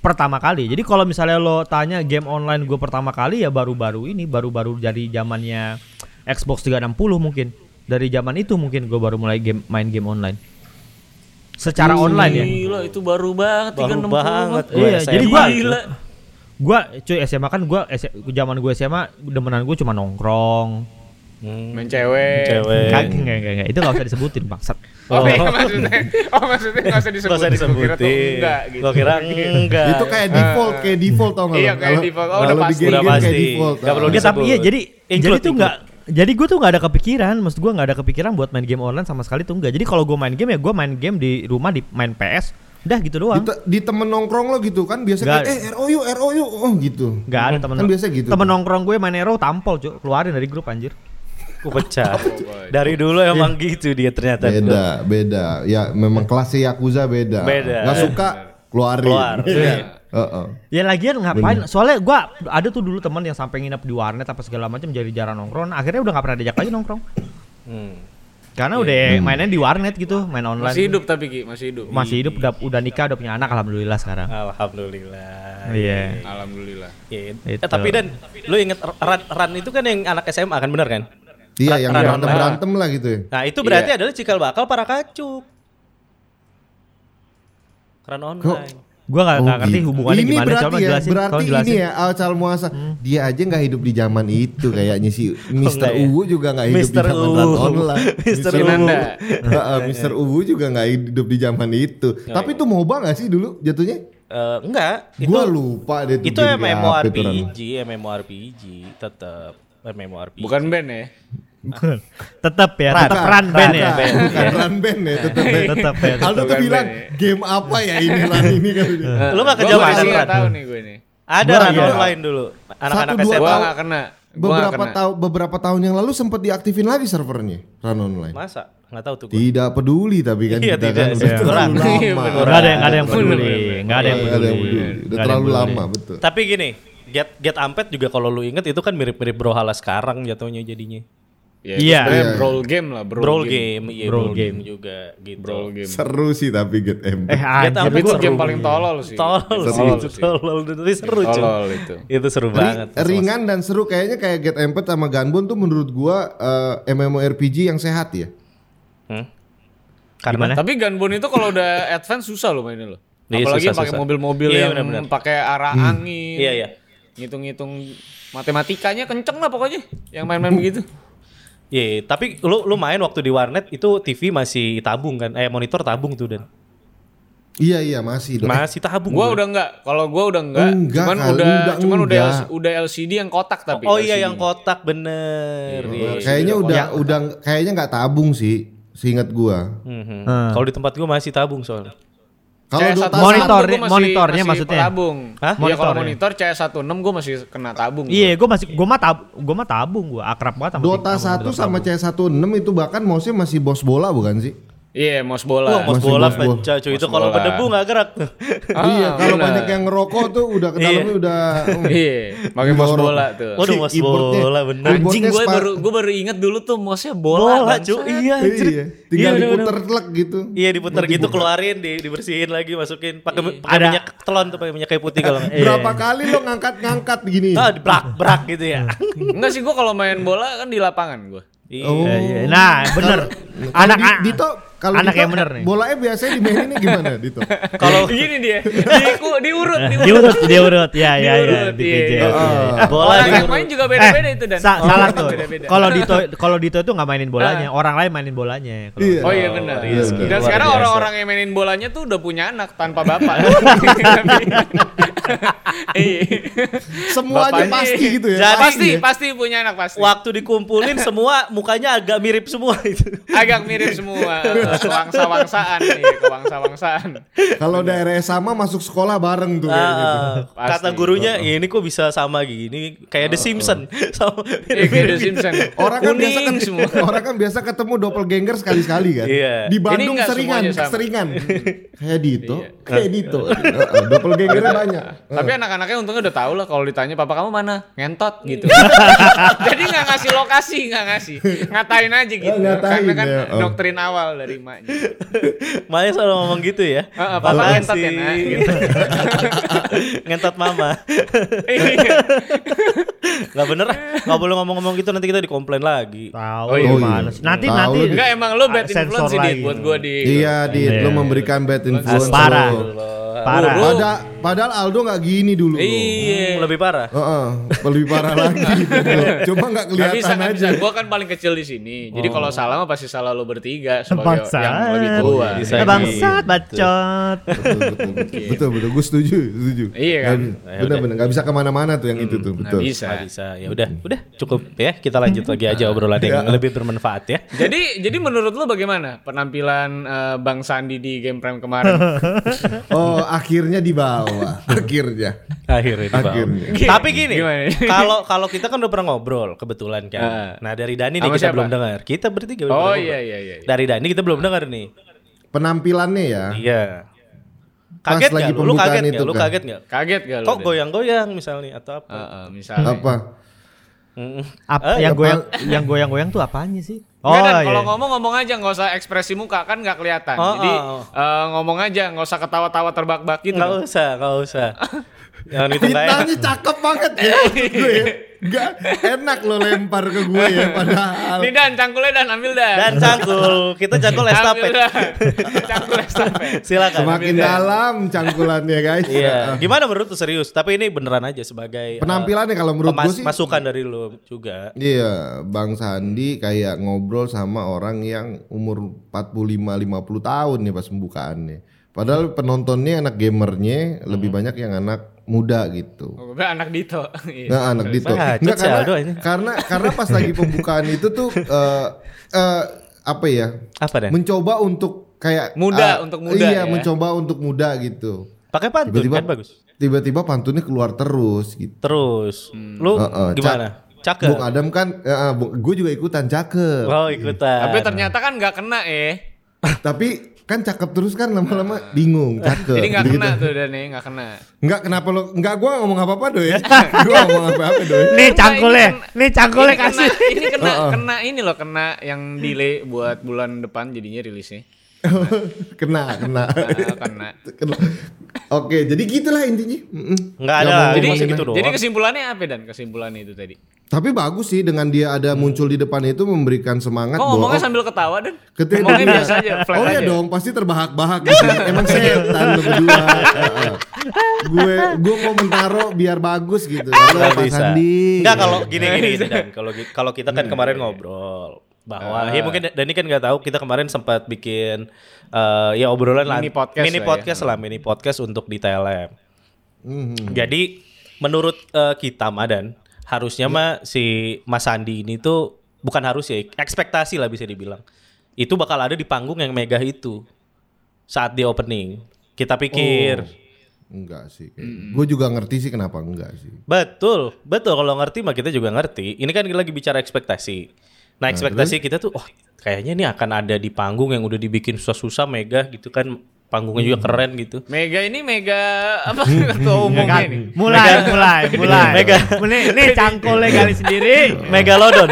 S3: Pertama kali. Jadi kalau misalnya lo tanya game online gua pertama kali ya baru-baru ini, baru-baru dari zamannya Xbox 360 mungkin. Dari zaman itu mungkin gua baru mulai game main game online. Secara online ya.
S2: Gila itu baru banget
S1: Baru
S2: 360.
S1: banget. Gua
S3: Iya,
S1: SMA.
S3: jadi gua
S2: Gila.
S3: gua cuy SMA kan gua S- zaman gua SMA demenan gua cuma nongkrong.
S1: Hmm,
S2: Main cewek.
S1: cewek.
S3: Kagak enggak enggak enggak. Itu gak usah disebutin, Bangsat.
S2: Oh, iya, maksudnya. Oh, maksudnya enggak usah
S1: Gak
S2: disebutin.
S1: usah
S2: Gua kira tuh
S1: disebutin.
S2: enggak gitu.
S1: Gua kira enggak.
S4: Itu kayak default, kayak default tau gak
S2: Iya,
S4: lo?
S2: kayak
S4: Kalau-
S2: default. Oh,
S4: kalau
S2: udah
S4: di
S2: pasti.
S1: Eh.
S4: game-game
S1: Udah
S4: kayak
S1: pasti.
S4: default,
S1: Nggak
S4: tau.
S1: perlu
S3: Enggak, tapi iya
S1: disebut.
S3: jadi jadi
S1: Include,
S3: tuh enggak jadi gue tuh nggak ada kepikiran, maksud gue nggak ada kepikiran buat main game online sama sekali tuh enggak. Jadi kalau gue main game ya gue main game di rumah di main PS, udah gitu
S4: Di,
S3: doang.
S4: te- di temen nongkrong lo gitu kan biasanya
S3: Nggak.
S4: kayak, eh ROU ROU oh gitu.
S3: Gak ada temen
S4: Kan biasa gitu.
S3: Temen nongkrong gue main Hero tampol cuy, keluarin dari grup anjir.
S1: Aku pecah. Dari dulu emang gitu dia ternyata.
S4: Beda, beda. Ya memang kelasnya Yakuza beda.
S1: Beda.
S4: Gak suka keluarin.
S1: Keluar.
S4: Iya. Heeh.
S3: Ya lagian ngapain? Soalnya gue ada tuh dulu teman yang sampai nginep di warnet apa segala macam jadi jarang nongkrong. Akhirnya udah nggak pernah diajak lagi nongkrong.
S1: Hmm.
S3: Karena udah
S4: Iya. Hmm.
S3: mainnya di warnet gitu, main online.
S2: Masih
S3: Masih,
S2: hidup tapi Ki, masih hidup.
S3: hidup, udah, udah nikah, udah punya anak alhamdulillah sekarang.
S1: Iya. Alhamdulillah.
S3: Iya.
S2: Alhamdulillah.
S1: Iya. Eh,
S3: Itu.
S1: tapi dan lu inget ran, ran itu kan yang anak SMA kan bener kan?
S4: Iya yang
S1: Rata-rata.
S4: berantem berantem lah gitu ya.
S1: Nah itu berarti
S2: Iya.
S1: adalah cikal bakal para kacuk. Ran online.
S3: Gue nggak nggak
S4: Oh,
S3: ngerti
S4: gitu.
S3: hubungannya
S4: ini
S3: gimana.
S4: berarti
S3: coba
S4: ya,
S3: jelasin,
S4: berarti
S3: tolong jelasin.
S4: ini ya asal muasal. Dia aja nggak hidup di zaman itu kayaknya si Mister
S1: enggak ya?
S4: Uwu juga nggak hidup
S1: Mr.
S4: di zaman
S1: Uwu.
S4: Rat online.
S1: Mr.
S4: Uwu.
S2: Uwu.
S4: Heeh, Mr. Uwu juga nggak hidup di zaman itu. Tapi itu MOBA nggak sih dulu jatuhnya?
S1: Eh, enggak, itu
S4: Gua lupa deh
S1: itu
S4: game kayak apa itu, Ran.
S1: MMORPG, MMORPG tetap MMORPG.
S2: Bukan band ya.
S3: tetap ya,
S1: Ran.
S3: tetap run band ya.
S4: Bukan, bukan run band ya, tetap band.
S3: Tetap ya.
S4: Aldo tuh
S2: Bukan
S4: bilang
S2: band
S4: game apa ya ini lan ini kan ini.
S1: Lu nggak
S2: Gua
S1: kejauhan
S2: masih nggak
S1: Ran.
S2: tahu nih gue nih.
S1: Ada
S3: Gua
S1: Ran
S3: iya.
S1: online dulu. Anak-anak
S4: Satu, dua
S1: SMA.
S2: Gua
S4: tahu.
S2: nggak kena. Gua nggak
S4: Beberapa
S2: kena.
S4: tahun beberapa tahun yang lalu sempat diaktifin lagi servernya run online.
S1: Masa? Enggak tahu tuh gua.
S4: Tidak peduli tapi kan
S1: Iya,
S4: kita
S1: tidak,
S4: kan udah
S1: iya.
S4: terlalu
S1: Kurang.
S2: Iya,
S4: lama.
S2: benar.
S3: Enggak ada yang nggak ada yang
S2: Bener,
S3: peduli,
S2: bener.
S3: enggak ada yang
S4: Nggak ada yang peduli.
S3: peduli. Eh,
S4: Udah
S3: Nggak ada yang
S4: terlalu
S3: peduli.
S4: lama betul.
S1: Tapi gini, Get Get Ampet juga kalau lu inget itu kan mirip-mirip Brawlhalla sekarang jatuhnya jadinya.
S2: Ya,
S3: Iya.
S2: sebenarnya
S4: Iya, iya.
S2: brawl game lah, brawl,
S1: Brawl
S2: game.
S1: game, iya
S3: Brawl
S1: brawl
S3: game.
S1: game juga gitu.
S2: Brawl game.
S4: Seru sih tapi Get M.
S3: Eh, anjir,
S1: Tapi
S2: Tapi itu
S3: gua
S2: game
S3: seru
S2: paling
S3: banget.
S2: tolol sih.
S1: Tolol
S2: Game
S1: sih, itu
S2: sih.
S1: tolol tapi seru cuy.
S2: Tolol itu.
S1: Itu seru
S4: Ri-
S1: banget.
S4: ringan dan seru kayaknya kayak Get Empet sama Gunbun tuh menurut gua eh, MMORPG yang sehat ya.
S1: Hmm?
S3: Gimana?
S1: Karena
S2: Tapi Gunbone itu kalau udah advance susah loh mainnya loh.
S1: Iya,
S2: Apalagi
S1: susah,
S2: pakai
S1: susah.
S2: mobil-mobil
S1: Iya,
S2: yang
S1: benar-benar.
S2: pakai arah angin.
S1: Iya, iya.
S2: Ngitung-ngitung matematikanya kenceng lah pokoknya yang main-main begitu.
S1: Iya, tapi lu lu main waktu di warnet itu TV masih tabung kan? Eh monitor tabung tuh dan.
S4: Iya iya masih dong.
S1: Masih tabung.
S2: Gua
S1: gua.
S2: udah enggak. Kalau gua udah enggak.
S4: Enggak
S2: cuman
S4: kali,
S2: udah
S4: enggak,
S2: cuman udah
S4: enggak.
S2: L- udah LCD yang kotak tapi.
S1: Oh iya
S2: LCD.
S1: yang kotak bener. Iya.
S4: Eh, kayaknya udah
S3: Ya,
S4: udah kayaknya nggak tabung sih, seingat gua.
S1: Mhm.
S3: Hmm.
S1: Kalau di tempat gua masih tabung soalnya.
S4: Kalau
S2: CS16
S4: Dota
S2: gua
S3: Monitor-
S2: masih-
S3: monitornya
S2: masih
S3: maksudnya?
S2: Tabung.
S1: Hah?
S2: Iya kalau
S3: Monitornya.
S2: monitor CS16 gua masih kena tabung.
S3: Iya, gue masih gue mah tab, gue mah tabung gue akrab banget sama
S4: Dota 1 sama CS16 itu bahkan mouse masih bos bola bukan sih?
S2: Iya, mouse bola.
S1: Wah, mos
S4: Masih
S1: bola
S4: mos bola.
S1: pecah cuy. Itu
S2: Mos
S1: kalau
S2: bola.
S1: berdebu nggak gerak.
S2: Ah,
S4: iya, kalau
S2: benar.
S4: banyak yang ngerokok tuh udah ke dalamnya udah mm.
S2: Iya, pakai mouse
S4: Jorok.
S2: bola tuh.
S1: Waduh,
S4: Si,
S1: mos
S4: keyboardnya-
S1: bola bener.
S4: keyboardnya
S2: Anjing gue
S4: spa-
S2: baru gue baru inget dulu tuh mouse-nya bola,
S1: Bola
S2: bangsat.
S1: cuy. Iya, anjir.
S4: Iya, tinggal
S1: Iya, bener-bener.
S4: diputer telek gitu.
S1: Iya diputar gitu keluarin di- dibersihin lagi masukin pakai
S2: Iya.
S1: mi- pakai
S3: Ada-
S1: minyak telon tuh pakai minyak kayu putih kalau nggak.
S4: Berapa kali lo ngangkat-ngangkat begini?
S1: Ah dibrak brak gitu ya.
S2: Enggak sih gue kalau main bola kan di lapangan gue.
S1: Iya.
S3: Nah, bener. anak
S4: Oh. Di- Dito kalau
S3: anak
S4: Dito,
S3: yang bener nih.
S4: Bolanya biasanya dimainin gimana Dito?
S2: Kalau gini dia, diiku- diurut,
S3: Eh,
S2: diurut.
S3: diurut, diurut, ya, ya, ya,
S2: Diurut,
S3: di
S2: iya.
S3: PJ.
S4: Oh. Ah.
S1: Bola
S2: Orang yang
S1: diurut.
S2: kan main juga beda-beda itu dan.
S3: Eh,
S2: kan
S3: sa- salah tuh.
S2: Beda-beda. Ah.
S3: Kalau Dito, kalau Dito itu nggak mainin bolanya, orang lain mainin bolanya. Kalau-
S4: Iya.
S2: Oh iya benar.
S1: Iya,
S4: benar.
S2: Dan
S1: Luar
S2: sekarang
S1: biasa.
S2: orang-orang yang mainin bolanya tuh udah punya anak tanpa bapak. Iya.
S4: Semuanya
S2: Bapaknya- Nah,
S4: pasti gitu ya.
S1: Jadi-
S2: pasti
S4: ya.
S2: pasti punya anak pasti.
S1: Waktu dikumpulin semua mukanya agak mirip semua itu.
S2: Agak mirip semua eh, kewangsa-wangsaan, iya, kewangsa-wangsaan.
S4: ya. Kalau daerah sama masuk sekolah bareng tuh. kayak gitu.
S1: Ah,
S2: Pasti.
S1: kata gurunya ini kok bisa sama gini kayak The Simpsons sama
S2: Iya, kayak The Simpsons.
S4: Orang kan biasa
S2: Kuning
S4: kan
S2: semua.
S4: orang kan biasa ketemu doppelganger sekali-sekali kan.
S1: Iya.
S4: Di
S2: Ini
S4: Bandung
S2: enggak
S4: seringan,
S2: semuanya sama.
S4: seringan. kayak Dito, kayak Dito. Ah, Heeh, Doppelgangernya banyak.
S2: Tapi
S4: Eh.
S2: anak-anaknya untungnya udah tahu lah kalau ditanya papa kamu mana ngentot gitu. Jadi nggak ngasih lokasi, nggak ngasih, ngatain aja gitu.
S4: Oh, ngatain
S2: Karena kan
S4: ya, oh.
S2: doktrin awal dari maknya.
S1: Maya selalu ngomong gitu ya.
S2: Heeh, papa
S1: Apaan
S2: ngentot ya,
S1: sih?
S2: Nak, gitu.
S1: ngentot mama.
S2: Iya.
S1: Gak bener, ah. gak boleh ngomong-ngomong gitu nanti kita dikomplain lagi.
S3: Tahu
S2: Oh, iya.
S3: gimana sih. Nanti
S4: Tahu
S3: nanti
S4: dia.
S2: Enggak emang lo bad
S3: Ah, sensor
S2: influence sih Dit,
S3: lagi.
S2: buat gue di.
S4: Iya, Dit,
S3: Iya.
S4: lo memberikan bad influence.
S3: parah.
S4: lo.
S3: parah.
S2: Buru.
S4: Pada- padahal Aldo nggak gini dulu. Heeh,
S1: Hmm,
S2: Iya.
S1: Lebih parah.
S4: lebih parah lagi. Cuma nggak
S2: Gak
S4: kelihatan
S2: bisa, gak
S4: aja. Oh.
S2: bisa. Gue kan paling kecil di sini. Jadi kalau salah mah pasti salah lo bertiga sebagai
S3: Bangsat.
S2: yang lebih tua.
S1: Bisa
S2: Iya,
S4: Iya,
S3: Eh,
S1: ini.
S4: gitu.
S3: Bangsat, bacot.
S2: gitu.
S4: betul betul, betul betul betul gue setuju setuju
S2: Iya
S4: Nggak
S2: kan?
S4: bisa- bener bener nggak bisa kemana-mana tuh yang itu tuh
S2: Nggak
S4: betul
S2: bisa. Hmm.
S1: Gak bisa. Ya udah, udah cukup ya. Kita lanjut lagi aja obrolan yang lebih bermanfaat ya.
S2: Jadi, jadi menurut lo bagaimana penampilan eh, Bang Sandi di game prime kemarin?
S4: oh akhirnya dibawa akhirnya
S1: Akhirnya dibawa.
S4: akhirnya
S1: Tapi gini,
S2: Gimana?
S1: kalau kalau kita kan udah pernah ngobrol kebetulan kan.
S2: Ah.
S1: Nah dari Dani nih
S2: Sama
S1: kita
S2: siapa?
S1: belum dengar. Kita bertiga udah
S2: Oh
S1: pernah
S2: iya
S1: ngobrol.
S2: iya iya. Ah.
S1: Dari Dani kita belum dengar nih.
S4: penampilannya ya
S1: Iya.
S4: Pas
S1: Kaget
S4: lagi
S1: nggak? Lu Lu
S4: pembukaan
S1: kaget nggak?
S4: itu
S1: Lu
S4: kan.
S1: kaget nggak?
S2: Kaget gak lo?
S1: Kok
S2: Dan?
S1: goyang-goyang misalnya atau apa?
S2: Heeh, misalnya.
S4: apa
S2: Ah.
S1: Mm-mm.
S3: Apa
S1: Eh,
S3: yang
S4: apa-
S3: goyang yang goyang-goyang tuh apanya sih? Oh,
S2: Nggak, Dan,
S3: iya.
S2: kalau ngomong ngomong aja nggak usah ekspresi muka kan nggak kelihatan.
S1: Oh,
S2: Jadi
S1: oh, oh.
S2: eh, ngomong aja nggak usah ketawa-tawa terbak-bak gitu.
S1: Nggak usah, nggak usah. Jangan itu nggak enak.
S4: Fitnahnya cakep banget ya maksud gue ya. Nggak enak lo lempar ke gue ya padahal
S2: Nih Dan cangkulnya Dan ambil Dan.
S1: Dan cangkul, kita cangkul
S2: Ambil,
S1: estafet.
S2: Dan. Cangkul estafet.
S1: Silakan.
S4: semakin
S2: Ambil, Dan.
S4: dalam cangkulannya guys Nah,
S1: Iya. Gimana menurut lu serius? Tapi ini beneran aja
S2: Eh,
S1: sebagai uh,
S4: penampilannya kalau menurut gue
S1: pemas-
S4: sih
S1: masukan dari lu juga.
S4: Iya, Bang Sandi kayak ngobrol sama orang yang umur 45-50 tahun nih pas pembukaannya. Padahal penontonnya anak gamernya lebih banyak yang anak muda gitu.
S2: Hmm. Oh, Gue anak Dito. Iya.
S4: Nah, anak Dito.
S1: Bacot
S4: Nggak,
S1: si Aldo ini.
S4: karena, karena karena pas lagi pembukaan itu tuh eh eh, apa ya?
S1: Apa deh?
S4: Mencoba untuk kayak
S2: Iya. Muda,
S4: ah,
S2: untuk muda
S4: Iya,
S2: ya.
S4: mencoba untuk muda gitu.
S1: Pakai pantun
S4: Tiba-tiba
S1: kan bagus.
S4: Tiba-tiba pantunnya keluar terus gitu.
S1: Terus,
S2: Hmm.
S1: lu
S4: Heeh,
S1: gimana? Cakep.
S4: eh, Bung Adam kan, gue juga ikutan cakep.
S1: Oh ikutan.
S2: Tapi ternyata kan nggak kena eh.
S4: Tapi kan cakep terus kan
S1: Nah.
S4: lama-lama bingung cakep.
S2: Jadi nggak
S4: gitu-gitu.
S2: kena tuh Dani, nggak kena.
S4: Enggak kenapa lo enggak gua ngomong apa-apa doy.
S2: Iya.
S4: gua ngomong apa-apa doy.
S3: Nih cangkulnya,
S2: Ini kan kena-
S3: nih cangkulnya
S2: ini kena-
S3: kasih.
S2: Ini kena, kena ini loh, kena yang delay buat bulan depan jadinya rilisnya.
S4: kena, kena.
S2: Nah, kena.
S4: Kena. Oke, jadi gitulah intinya. Mm-mm.
S1: Nggak
S4: Ya,
S1: ada,
S4: mau
S1: jadi
S4: ngomongin
S1: gitu
S4: aja.
S1: doang.
S2: Jadi kesimpulannya apa dan kesimpulannya itu tadi?
S4: Tapi bagus sih dengan dia ada
S1: Hmm.
S4: muncul di depan itu memberikan
S2: Kok
S4: semangat bahwa
S2: Oh, ngomongnya sambil ketawa dan?
S4: Ketika
S2: ngomongnya
S4: dia-
S2: biasa aja, flat
S4: oh iya
S2: aja.
S4: dong, pasti terbahak-bahak di sini. Emang setan lu berdua. Heeh. gue gue mau mentaro biar bagus gitu. Halo
S1: Nggak
S4: Pak
S1: bisa.
S4: Sandi.
S1: Nggak kalau gini gini, gini, Dan. Kalau gi- kalau kita kan kemarin ngobrol
S2: Ah.
S1: bahwa ya mungkin Dani kan nggak tahu kita kemarin sempat bikin eh, ya obrolan
S2: Mini podcast
S1: mini
S2: lah ya.
S1: podcast lah mini podcast untuk di TLM.
S4: Mhm.
S1: Hmm. Jadi menurut eh, kita Madan
S4: Ya.
S1: harusnya mah si Mas Sandi ini tuh bukan harus ya ekspektasi lah bisa dibilang itu bakal ada di panggung yang megah itu saat di opening kita pikir
S4: Oh. Enggak sih. Gue juga ngerti sih kenapa enggak sih.
S1: betul betul kalau ngerti mah kita juga ngerti ini kan kita lagi bicara ekspektasi nah ekspektasi kita tuh oh kayaknya ini akan ada di panggung yang udah dibikin susah-susah megah gitu kan panggungnya
S4: Hmm.
S1: juga keren gitu
S2: Mega ini mega apa ketua
S4: Iya
S2: umumnya
S4: kan?
S2: ini?
S3: Mulai, mulai, mulai.
S1: Mega.
S3: Nih, nih cangkulnya kali sendiri.
S1: megalodon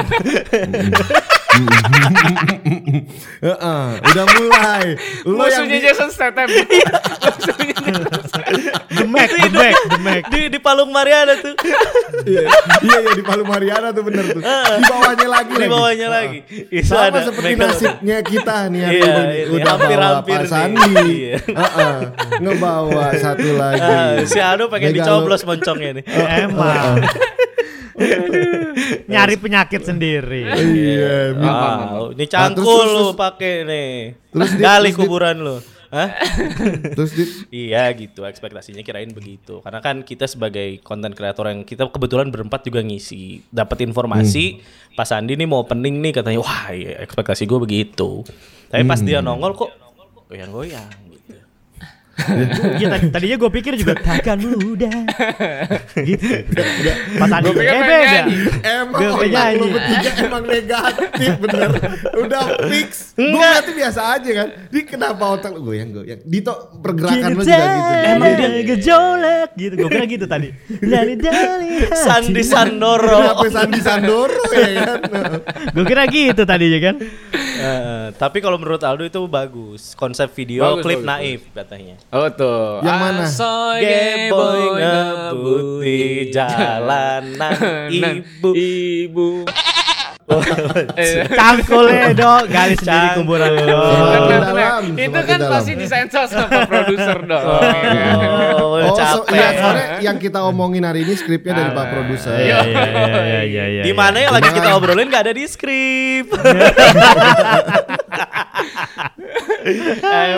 S4: Heeh, udah mulai. Lo yang
S2: Musuhnya
S4: di- Iya.
S2: Jason Statham. Musuhnya Jason Statham.
S3: Demek, demek, demek.
S1: di di palung Mariana tuh
S4: Iya, iya iya, di Palu Mariana tuh bener tuh. Di bawahnya lagi
S1: di
S4: lagi.
S1: bawahnya lagi itu
S4: Ah. Sama
S1: ada
S4: seperti
S1: megalodon.
S4: nasibnya kita nih hari
S1: Iya,
S4: ini.
S1: ini
S4: Udah bawa
S1: hampir-hampir
S4: Pak
S1: nih.
S4: Sandi.
S1: Iya.
S4: Heeh, ngebawa satu lagi.
S1: Ah, si Anu pengen
S4: Megalo-
S1: dicoblos Iya. moncongnya nih.
S4: Oh, iya,
S2: Oh.
S3: Emang. Nyari penyakit
S2: Oh,
S3: sendiri.
S4: Iya, Min.
S1: Wow, ini
S4: Ah, terus,
S1: cangkul
S4: terus,
S1: lu
S4: terus.
S1: pakai nih.
S4: Terus dia-
S1: Gali
S4: terus dia-
S1: kuburan lu. Hah?
S4: Terus di
S1: iya gitu, ekspektasinya kirain begitu. Karena kan kita sebagai konten kreator yang kita kebetulan berempat juga ngisi, dapat informasi
S4: Hmm.
S1: pas Andi nih mau opening nih katanya, wah iya, ekspektasi gue begitu. Tapi pas dia
S4: Hmm.
S1: nongol kok goyang-goyang gitu.
S3: Iya, tadi- tadinya gue pikir juga takkan mudah. Gitu. Pas Andi,
S2: Gua pikir
S3: eh,
S2: pengen
S3: beda.
S2: nyanyi.
S4: Emang
S3: Gua
S4: otak
S3: penyanyi.
S4: lu bertiga emang negatif bener Udah fix Gue berarti biasa aja kan Di kenapa otak lu goyang-goyang Dito pergerakan lu juga gitu
S3: Emang
S4: Iya.
S3: dia gejolak gitu. Gue kira gitu tadi. Dari dari.
S1: Sandi Sandoro.
S4: Ah, Kenapa Sandi Sandoro ya kan
S3: Gue kira gitu tadinya kan.
S1: Eh, tapi kalau menurut Aldo itu bagus. Konsep video
S2: Bagus,
S1: klip
S2: bagus,
S1: naif katanya.
S2: Oh tuh.
S4: Yang mana?
S2: Asoy
S1: Geboy
S2: geboy
S1: ngebuti
S2: ngebuti Nah,
S1: jalanan ibu.
S2: Iya. Ibu.
S4: Oh,
S2: Eh,
S3: Cangkulnya dong, ya, garis sendiri
S1: Cangkul.
S3: kuburan lo.
S2: Bentar, bentar, bentar.
S4: dalam,
S2: itu
S4: semakin
S2: kan
S4: dalam.
S2: pasti disensor sama produser dong. ya kan?
S1: Oh,
S4: Oh so,
S1: capek. Ah,
S4: ya, soalnya yang kita omongin hari ini skripnya dari Pak Produser
S3: Iya iya iya iya iya. iya.
S1: Di mana ya? yang lagi
S4: Cuman-
S1: kita obrolin gak ada di skrip.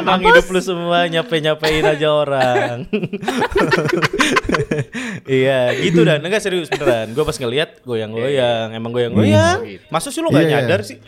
S1: Emang hidup lu semua nyape-nyapein aja orang. Iya, gitu dan enggak serius beneran. Gue pas ngeliat goyang-goyang, emang goyang-goyang. Masa sih lu gak
S4: Iya, iya.
S1: nyadar sih?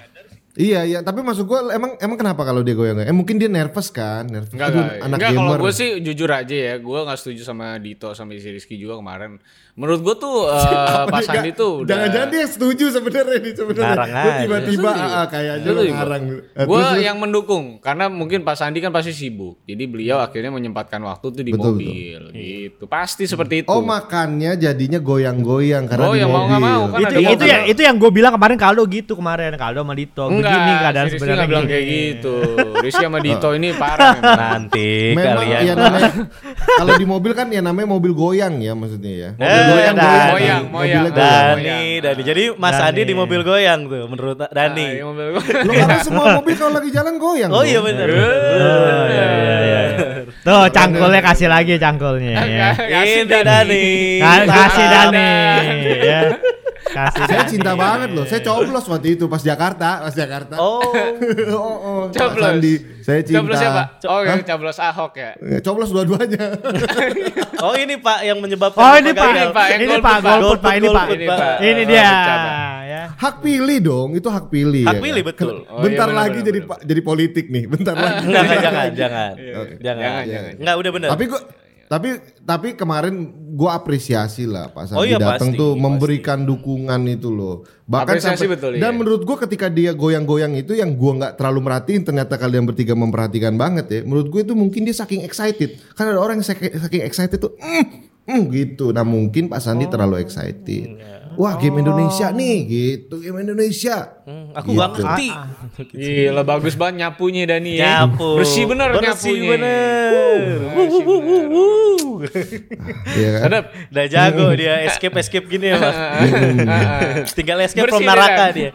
S4: Iya iya tapi maksud gue emang emang kenapa kalau dia goyang-goyang Eh mungkin dia nervous kan nervous.
S2: Enggak,
S4: Aduh,
S2: enggak.
S4: anak
S2: enggak kalau
S4: gamer
S2: gue sih jujur aja ya, gue gak setuju sama Dito sama si Rizky juga kemarin. Menurut gue tuh eh, Pak Sandi tuh udah...
S4: Jangan-jangan dia setuju sebenarnya nih sebenarnya.
S1: Ngarang
S4: Lu
S1: aja.
S4: Tiba-tiba ah, ah, kayaknya lu ngarang. Eh,
S2: Gue
S4: terus-
S2: yang mendukung karena mungkin Pak Sandi kan pasti sibuk, jadi beliau akhirnya menyempatkan waktu tuh di
S4: Betul,
S2: mobil, gitu. Pasti seperti itu.
S4: Oh makannya jadinya goyang-goyang karena
S2: Oh,
S4: di
S2: yang
S4: mobil.
S2: mau nggak mau, kan
S3: itu
S2: ada
S3: itu
S2: mobil.
S3: ya itu yang gue bilang kemarin kalau gitu kemarin kalau sama Dito Oh, begini keadaan
S2: si Rizky
S3: sebenarnya
S2: nggak bilang
S3: gini.
S2: kayak gitu. Rizky sama Dito
S4: Oh.
S2: ini parah memang.
S1: Nanti
S4: Memang
S1: kalian
S4: ya namanya kalau di mobil kan ya namanya mobil goyang ya maksudnya ya.
S1: Eh,
S4: goyang,
S1: Dani.
S4: goyang,
S2: Moyang,
S4: mobilnya
S2: moyang.
S4: goyang.
S1: Dani, Dani. Jadi Mas Andi di mobil goyang tuh menurut Dani.
S2: iya. Ah, yang mobil gua.
S4: Lu karena semua mobil kalau lagi jalan goyang.
S1: Oh
S4: dong.
S1: iya benar.
S2: Eh.
S3: Oh, iya, iya, iya. Tuh cangkulnya kasih lagi cangkulnya. Ya.
S2: Kasih
S1: Ini Dani.
S3: Ka- Kasih
S2: Tangan.
S3: Dani. Ya. Kasih
S4: Saya
S3: Dani.
S4: cinta banget loh. Saya coblos waktu itu pas Jakarta, pas Jakarta.
S1: Oh.
S4: oh, oh. Pak
S2: Coblos.
S4: Sandi, saya cinta.
S2: Coblos siapa? Oh, yang
S4: Hah?
S2: coblos Ahok ya.
S4: Coblos dua-duanya.
S1: Oh ini Pak yang menyebabkan
S3: Oh
S1: Bapak
S2: Ini,
S3: ini pak,
S1: gagal.
S2: Pak, yang
S3: ini
S2: golput,
S3: pak,
S2: Pak.
S3: golput pak, ini
S1: Golput,
S3: pak,
S1: golput,
S2: Pak.
S3: ini
S2: Oh,
S3: dia.
S2: bercanda.
S3: Ya.
S4: hak pilih dong, itu hak pilih.
S1: Hak
S4: kan?
S1: pilih, betul.
S4: Ken-
S2: Oh, iya,
S4: Bentar
S2: benar,
S4: lagi
S2: benar,
S4: jadi
S2: benar. Ah.
S4: pa- jadi politik nih, bentar lagi.
S1: Enggak, enggak, jangan, jangan.
S4: Oke.
S1: Jangan.
S2: Iya, Jangan, jangan,
S1: Enggak udah benar.
S4: Tapi gua Tapi tapi kemarin gua apresiasi lah Pak Sandi
S1: Oh iya, pasti,
S4: datang tuh
S1: pasti.
S4: memberikan dukungan itu loh. Bahkan
S2: Apresiasi
S4: sampai-
S2: betul,
S4: dan
S2: iya.
S4: menurut gua ketika dia goyang-goyang itu yang gua nggak terlalu merhatiin ternyata kalian bertiga memperhatikan banget ya. Menurut gue itu mungkin dia saking excited. Kan ada orang yang saking, saking excited tuh mm, mm, gitu. Nah, mungkin Pak Sandi terlalu
S1: Oh,
S4: excited.
S1: iya.
S4: Wah, game Indonesia nih gitu. Game Indonesia.
S1: Hmm, aku
S2: iya,
S1: nggak
S4: Gitu.
S1: ngerti.
S2: Gila bagus banget nyapunya Dani ya.
S1: Nyapu.
S2: Bersih bener
S1: Bersih
S2: nyapunya.
S1: bener.
S2: Bersih bener.
S4: Iya kan?
S2: Sedap.
S1: Udah jago dia escape escape gini ya mas. Tinggal escape
S2: Ah,
S1: from
S2: Bersih
S1: neraka
S2: dia.
S1: dia.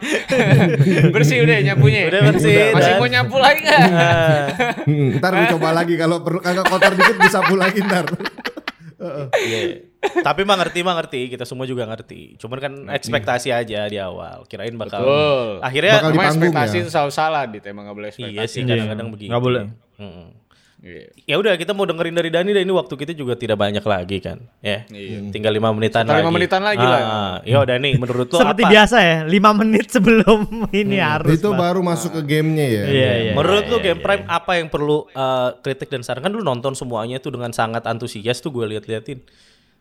S2: bersih udah nyapunya.
S1: Udah bersih,
S2: Masih
S1: Dan.
S2: mau nyapu lagi nggak?
S1: Ah,
S4: Hmm, ntar lu coba lagi kalau perlu kagak kotor dikit disapu lagi ntar.
S1: iya. Tapi mah ngerti mah ngerti, kita semua juga ngerti. Cuman kan ekspektasi aja di awal. Kirain bakal
S2: Betul.
S1: akhirnya
S4: Bakal di
S2: Emang
S4: panggung
S2: ekspektasi
S4: ya?
S2: salah salah dit emang nggak boleh ekspektasi.
S1: iya sih kadang-kadang begitu.
S3: Nggak boleh.
S1: Mm-mm.
S2: Iya.
S1: Ya udah kita mau dengerin dari Dani dan ini waktu kita juga tidak banyak lagi kan. Ya. Tinggal 5 menitan
S2: Sekitar
S1: lagi. Ah,
S2: lima menitan lagi lah.
S1: Yo Dani menurut lo
S3: Seperti
S1: apa?
S3: biasa ya, 5 menit sebelum ini harus.
S4: itu
S3: Pak.
S4: baru masuk ke gamenya ya.
S3: Iya, iya.
S1: Menurut lu game Prime apa yang perlu eh, kritik dan saran? Kan lu nonton semuanya tuh dengan sangat antusias tuh gue lihat-liatin.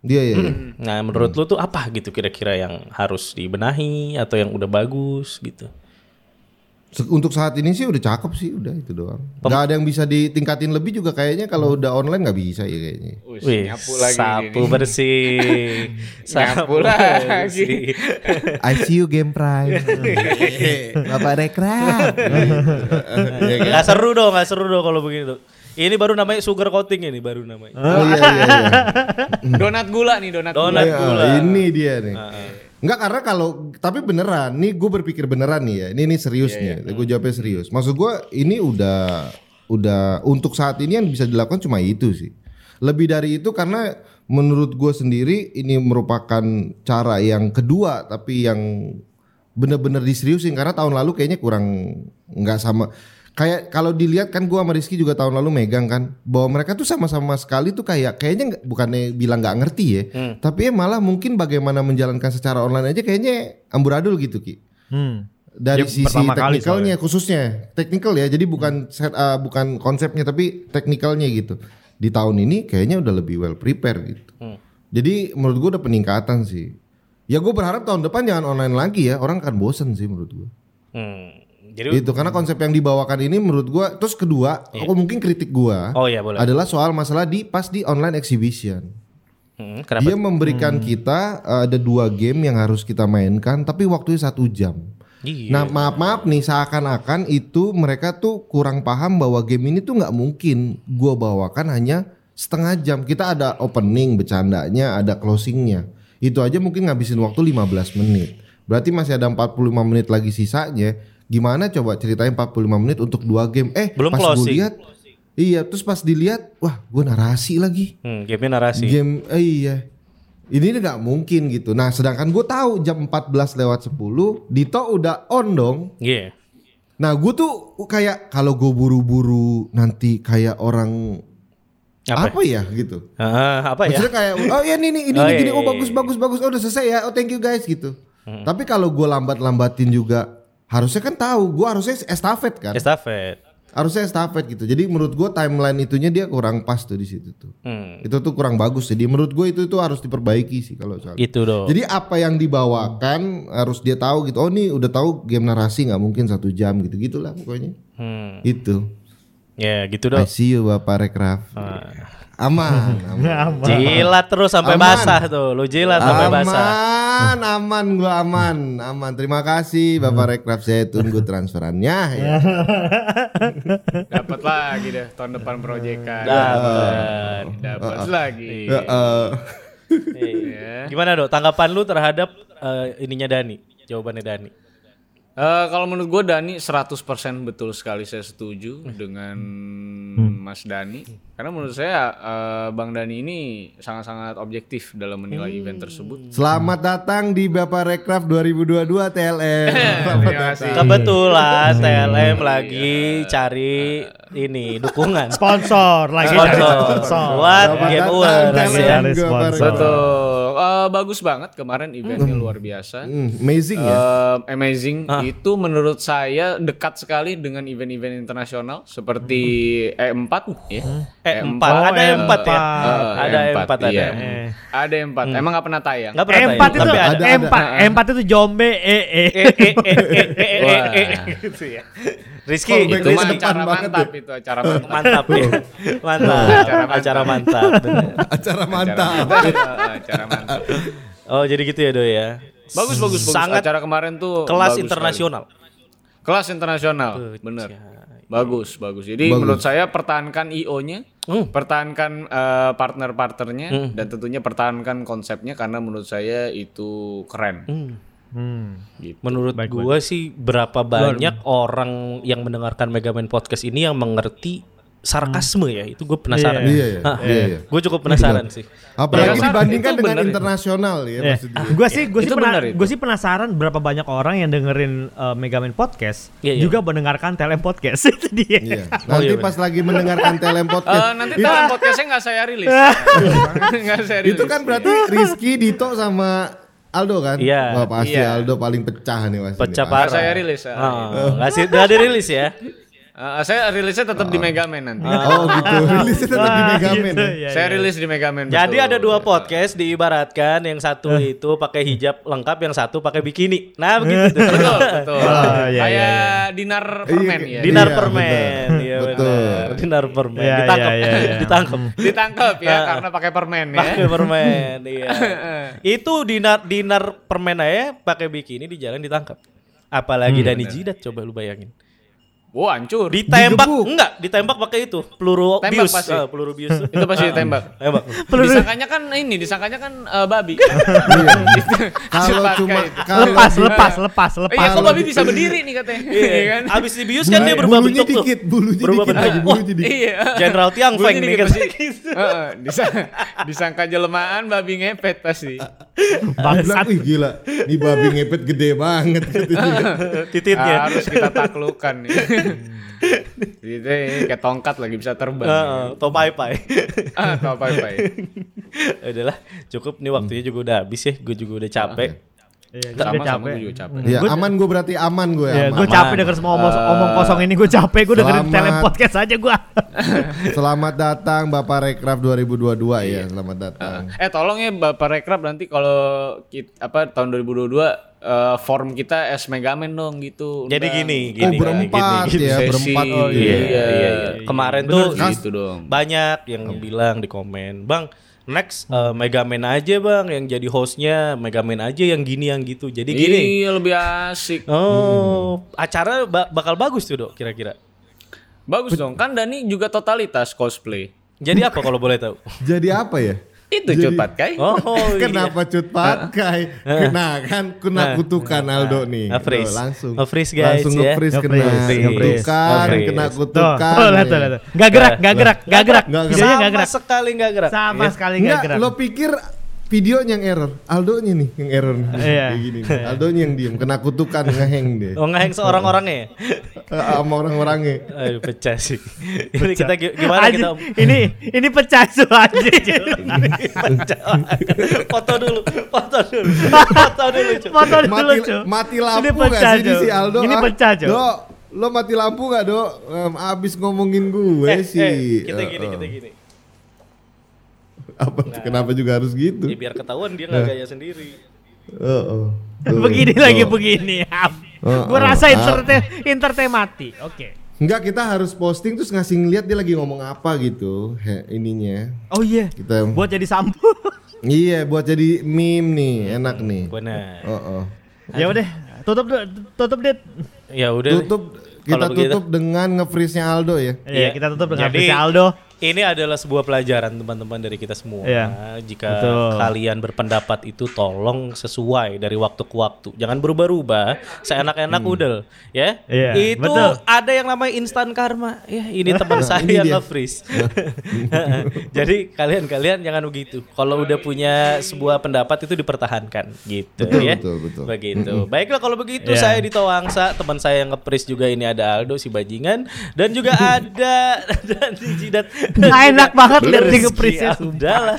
S4: Dia ya. ya.
S3: Hmm.
S1: Nah, menurut lu tuh apa gitu kira-kira yang harus dibenahi atau yang udah bagus gitu?
S4: Se- Untuk saat ini sih udah cakep sih, udah itu doang. Gak ada yang bisa ditingkatin lebih juga kayaknya kalau udah online nggak bisa ya kayaknya.
S2: Wih,
S1: Wih,
S2: nyapu lagi
S1: sapu
S2: gini.
S1: bersih.
S2: Nyapu lagi.
S4: I see you game prime. Bapak rekra.
S1: Gak seru dong, gak seru dong kalau begitu. Ini baru namanya sugar coating ini baru namanya.
S4: Oh iya iya iya.
S2: Donat gula nih donat. gula.
S1: Donat
S4: Iya,
S1: gula.
S4: ini dia nih. Enggak karena kalau tapi beneran, nih gue berpikir beneran nih ya. Ini ini serius nih. Gue jawabnya serius. Maksud gue ini udah udah untuk saat ini yang bisa dilakukan cuma itu sih. Lebih dari itu karena menurut gue sendiri ini merupakan cara yang kedua tapi yang bener-bener diseriusin karena tahun lalu kayaknya kurang nggak sama kayak kalau dilihat kan gua sama Rizky juga tahun lalu megang kan bahwa mereka tuh sama-sama sekali tuh kayak kayaknya nggak- bukannya bilang nggak ngerti ya tapi ya malah mungkin bagaimana menjalankan secara online aja kayaknya amburadul gitu ki
S3: Hmm.
S4: dari
S3: Ya,
S4: sisi
S3: pertama kali
S4: teknikalnya khususnya teknikal ya jadi bukan set- eh, bukan konsepnya tapi teknikalnya gitu di tahun ini kayaknya udah lebih well prepare gitu jadi menurut gua udah peningkatan sih ya gue berharap tahun depan jangan online lagi ya orang akan bosen sih menurut gua
S1: Hmm. Jadi
S4: gitu karena konsep yang dibawakan ini menurut gua terus kedua aku mungkin kritik gua
S1: Oh iya boleh.
S4: adalah soal masalah di pas di online exhibition
S1: Hmm, kenapa?
S4: dia memberikan kita uh, ada dua game yang harus kita mainkan tapi waktunya satu jam
S1: Iya.
S4: nah maaf maaf nih seakan-akan itu mereka tuh kurang paham bahwa game ini tuh nggak mungkin gua bawakan hanya setengah jam kita ada opening bercandanya ada closingnya itu aja mungkin ngabisin waktu 15 menit berarti masih ada 45 menit lagi sisanya gimana coba ceritanya 45 menit untuk dua game eh
S1: Belum
S4: pas gua
S1: closing.
S4: lihat iya terus pas dilihat wah gua narasi lagi
S1: Hmm, game narasi.
S4: Game eh, iya. Ini nggak mungkin gitu. Nah, sedangkan gue tahu jam 14 lewat 10, Dito udah on dong.
S1: Iya.
S4: Nah, gue tuh kayak kalau gue buru-buru nanti kayak orang apa,
S1: Apa?
S4: ya gitu.
S1: Ah, apa ya?
S4: Maksudnya kayak oh ya ini nih ini
S1: Oh,
S4: nih,
S1: iya,
S4: gini oh
S1: iya, Hmm.
S4: bagus bagus bagus oh udah selesai ya oh thank you guys gitu. Tapi kalau gue lambat-lambatin juga harusnya kan tahu gue harusnya estafet kan.
S1: Estafet.
S4: harusnya estafet gitu. Jadi menurut gue timeline itunya dia kurang pas tuh di situ tuh.
S1: Hmm.
S4: Itu tuh kurang bagus. Jadi menurut gue itu itu harus diperbaiki sih kalau soal.
S1: Gitu dong.
S4: Jadi apa yang dibawakan harus dia tahu gitu. Oh nih udah tahu game narasi nggak mungkin satu jam gitu gitulah pokoknya.
S1: Hmm.
S4: Itu.
S1: Ya, gitu
S4: I
S1: dong.
S4: see you Bapak Rekraf.
S1: Ah.
S4: Aman, aman.
S1: Jilat terus sampai
S4: Aman.
S1: basah tuh. Lu jilat sampai basah.
S4: aman, aman, gua aman, aman. Terima kasih Bapak Rekraf, saya tunggu transferannya. Ya.
S2: Dapat lagi deh tahun depan proyekan.
S1: Dapat.
S2: Dapat lagi.
S4: Eh, eh.
S1: Iya. Gimana dok? Tanggapan lu terhadap eh, ininya Dani? Jawabannya Dani.
S2: Eh, kalau menurut gue Dani 100% betul sekali saya setuju dengan Mas Dani karena menurut saya eh, Bang Dani ini sangat-sangat objektif dalam
S1: Hmm.
S2: menilai event tersebut.
S4: Selamat datang di Bapak Rekraf 2022 TLM.
S1: Iya.
S4: Selamat datang.
S1: Kebetulan TLM lagi cari ini dukungan.
S3: Sponsor lagi
S1: Sponsor.
S3: sponsor.
S1: Buat
S4: Selamat
S1: game
S4: datang
S1: award. ya.
S4: TLM
S3: Sekali
S4: Bapak
S3: sponsor.
S4: Rekraf.
S2: Betul. Eh, bagus banget kemarin eventnya luar biasa.
S4: Hmm, amazing ya.
S2: Eh, amazing itu menurut saya dekat sekali dengan event-event internasional seperti E4 ya.
S1: E4, E ada E4 ya.
S2: Eh,
S1: Ada E4, ada E.
S2: iya.
S1: E4.
S2: Ada E4. Emang nggak pernah tayang?
S1: Nggak pernah
S3: M4
S1: tayang,
S3: itu
S1: ya? tapi ada.
S4: ada.
S3: M4 M4 itu Jombe E E.
S1: Eh, eh, eh, eh, eh, eh,
S2: Wah.
S1: eh, eh, gitu ya. Rizky,
S4: Callback
S1: itu
S2: Itu mah
S4: Depan
S1: Rizky.
S2: acara
S4: banget
S2: mantap
S4: ya.
S2: itu acara mantap.
S1: mantap ya. Mantap. Acara mantap. bener.
S4: Acara
S2: Acara
S4: mantap.
S2: mantap. Eh, acara mantap.
S1: Oh, jadi gitu ya, Do ya.
S2: Bagus bagus bagus.
S1: Sangat
S2: acara kemarin tuh
S1: Kelas
S2: bagus
S1: internasional.
S2: sekali. Kelas internasional. Bener. Bagus bagus. Jadi menurut saya pertahankan IO-nya, pertahankan eh, partner-partnernya dan tentunya pertahankan konsepnya karena menurut saya itu keren.
S1: Menurut gua sih berapa banyak orang yang mendengarkan Megaman Podcast ini yang mengerti sarkasme ya. Itu gue penasaran.
S4: Iya, iya,
S1: Hah,
S4: iya, iya.
S1: Gue cukup penasaran sih.
S2: Itu
S4: Apalagi
S2: Iya.
S4: dibandingkan dengan
S2: bener.
S4: internasional ya
S3: Eh,
S4: maksudnya.
S3: gue sih gue sih,
S2: Itu
S3: pena-
S2: benar itu.
S3: gua sih penasaran berapa banyak orang yang dengerin eh, Megaman podcast
S1: Iya, iya.
S3: juga mendengarkan Telem podcast itu dia.
S4: Iya. Nanti pas lagi mendengarkan Telem
S2: Oh, Eh,
S4: Podcast.
S2: nanti
S4: itu,
S2: tahun podcastnya nggak saya rilis. Nggak saya rilis.
S4: itu kan berarti Rizky, Dito sama Aldo kan?
S1: Iya.
S4: Wah, pasti
S2: Iya.
S4: Aldo paling pecah nih Ah. pasti.
S1: Pecah
S4: nih,
S2: Nggak
S1: parah.
S2: saya rilis. eh.
S1: Oh, nggak sih, nggak dirilis ya.
S2: Eh, saya rilisnya tetap
S4: Ah.
S2: di Megaman nanti.
S4: Oh gitu. Rilisnya tetap di
S3: Wah,
S4: Megaman.
S3: gitu,
S4: ya.
S3: iya,
S2: saya
S3: iya.
S2: rilis di Megaman.
S1: Jadi
S2: betul.
S1: ada dua podcast diibaratkan, yang satu itu pakai hijab lengkap, yang satu pakai bikini. Nah begitu tuh.
S2: Betul, betul.
S3: Oh, iya,
S2: Kayak
S3: iya,
S2: dinar permen ya.
S4: Iya, di-
S1: Dinar
S4: Iya,
S1: permen,
S4: betul.
S1: iya
S4: Betul.
S1: benar. Dinar permen,
S3: Iya,
S1: ditangkap,
S3: iya, iya, iya.
S1: ditangkap.
S2: Ditangkap ya karena pakai permen ya.
S1: Pakai permen, iya. Itu dinar dinar permen aja pakai bikini di jalan ditangkap. Apalagi Dani Jidat coba lu bayangin.
S2: Wah, hancur.
S1: Ditembak
S4: Digebuk.
S1: enggak, ditembak pakai itu, peluru
S2: Tembak
S1: bius,
S2: pasti.
S1: Eh, peluru bius.
S2: Itu pasti ditembak.
S1: Tembak.
S2: Disangkanya kan ini, disangkanya kan eh, babi.
S4: Kalau
S2: Dipakai
S4: cuma
S2: itu.
S4: kalau
S3: lepas lepas lepas
S2: Eh, Iya,
S3: lepas.
S2: kok babi bisa berdiri nih katanya. Iya kan?
S1: Iya. Abis dibius kan dia berubah bentuk
S4: bulunya
S1: tuh.
S4: dikit, bulunya
S1: Berubah
S4: dikit
S1: bentuk.
S4: lagi, bulunya dikit.
S2: Iya.
S1: General Tiang Feng
S2: Bunyi
S1: nih
S2: dikit
S1: kan.
S2: pasti. Heeh, disa- disangka jelemaan babi ngepet pasti.
S4: Dia bilang, "Wih, gila, nih babi ngepet gede banget gitu.
S1: Tititnya.
S2: Harus kita taklukan nih. Gitu ini kayak tongkat lagi bisa terbang.
S1: Heeh, topai pai.
S2: Ah, atau apa apa
S1: Udahlah, cukup nih waktunya
S4: Hmm.
S1: juga udah habis ya. Gue juga udah capek.
S4: Ah,
S3: Iya, gua
S2: Sama
S3: juga
S2: sama
S3: capek.
S2: gue juga capek.
S4: Ya, aman gue berarti aman gue
S1: Iya,
S3: Ya,
S4: aman.
S3: gue capek denger semua omong, omong kosong ini gue capek gue dengerin
S4: selamat.
S3: Telem podcast aja gue.
S4: Selamat datang Bapak Rekraf 2022 ya, selamat datang.
S2: Eh tolong ya Bapak Rekrab nanti kalau kit- apa tahun 2022 eh, form kita es Megaman dong gitu.
S1: Jadi
S2: undang.
S1: gini,
S4: oh,
S1: gini,
S4: berempat
S1: gini, gini.
S4: ya,
S2: Sesi.
S4: berempat
S2: Oh,
S4: gitu
S1: Iya,
S4: ya.
S1: iya, iya. Kemarin tuh
S2: gitu dong.
S1: banyak yang bilang di komen, "Bang, next eh, Megaman aja, Bang, yang jadi hostnya Megaman aja yang gini yang gitu." Jadi gini.
S2: Iya lebih
S4: Hmm.
S2: asik.
S1: Oh, acara ba- bakal bagus tuh, Dok, kira-kira.
S2: Bagus dong. Kan Dani juga totalitas cosplay.
S1: Jadi apa kalau boleh tahu?
S4: Jadi apa ya?
S2: Itu
S4: Jadi-
S2: cepat kai.
S1: Oh, iya.
S4: Kenapa cut pakai? Kena kan kena kutukan Aldo nih.
S1: nge-freeze.
S4: Tuh, langsung.
S1: Nge-freeze, guys,
S4: Langsung
S1: ya.
S4: nge-freeze kena
S3: Nge-freeze, nge-freeze,
S4: kutukan,
S1: nge-freeze.
S4: kena
S3: Tuh,
S4: kutukan.
S3: tuh, Oh, lihat,
S4: ya.
S3: tuh, lihat, tuh. Gak gerak, gak gerak, gak gerak.
S4: Nggak gerak.
S3: Videonya
S1: Sama
S3: gak gerak. Iya.
S1: sekali nggak gerak. Iya.
S3: Sama sekali gak
S4: Enggak,
S3: gerak.
S4: lo pikir videonya yang error. Aldonya nih yang error nih.
S3: Iya.
S4: Kayak gini. nih. Aldonya yang diem kena kutukan ngeheng deh.
S1: Oh, ngeheng seorang-orangnya ya?
S4: Sama orang-orangnya.
S1: Aduh, pecah sih. Ini kita gi- gimana
S3: Anjing,
S1: kita
S3: ini ini pecah su anjing.
S4: Iya.
S1: Pecah banget. foto dulu, foto dulu, foto dulu. Cuk.
S3: Foto dulu,
S4: mati,
S3: Cuk.
S4: mati lampu
S3: Ini
S4: gak
S3: pecah,
S4: sih ini
S3: Cuk.
S4: si Aldo?
S3: Ini
S4: ah?
S3: pecah, Cuk.
S4: Dok, lo mati lampu gak, Dok? Em, abis ngomongin gue
S1: Eh,
S4: sih.
S1: eh, kita gini,
S4: Eh,
S1: kita
S4: eh.
S1: gini. Nah.
S4: Apa, Kenapa juga harus gitu?
S1: Ya biar ketahuan dia nggak gaya sendiri.
S4: Eh, eh. Tuh,
S3: begini
S4: tuh.
S3: lagi begini.
S4: Oh,
S3: Gue
S4: oh,
S3: rasa
S4: ah.
S3: internetnya internet mati. Oke.
S4: Enggak, kita harus posting terus ngasih ngeliat dia lagi ngomong apa gitu. He, ininya.
S3: Oh iya.
S4: Kita
S3: Buat jadi sampo.
S4: Iya, buat jadi meme nih, enak nih.
S1: Benar.
S4: Oh, oh.
S3: ya udah, tutup deh, tutup deh.
S1: Ya udah.
S4: Tutup kita
S1: Kalau begitu-
S4: tutup dengan nge-freeze-nya Aldo ya.
S3: Iya, kita tutup dengan
S1: Jadi,
S3: Fitri Aldo.
S1: Ini adalah sebuah pelajaran teman-teman dari kita semua.
S3: Iya.
S1: Jika
S3: Betul.
S1: kalian berpendapat itu tolong sesuai dari waktu ke waktu. Jangan berubah-ubah, seenak-enak udel, ya.
S3: Hmm. Iya,
S1: itu
S3: betul.
S1: ada yang namanya instan karma. Ya, ini teman saya
S4: ini
S3: Iya.
S4: dia.
S1: nge-freeze. Jadi kalian-kalian jangan begitu. Kalau udah punya sebuah pendapat itu dipertahankan gitu
S4: Betul,
S1: ya.
S4: betul, betul.
S1: Begitu. Baiklah kalau begitu
S3: Iya.
S1: saya Dito Wangsa, teman saya yang ngepris juga ini ada Aldo si bajingan dan juga ada Dani Jidat
S3: Nggak enak banget lihat dia ya.
S1: Rezeki,
S3: nge-freeze-nya,
S1: ah,
S3: sumpah.
S1: udah lah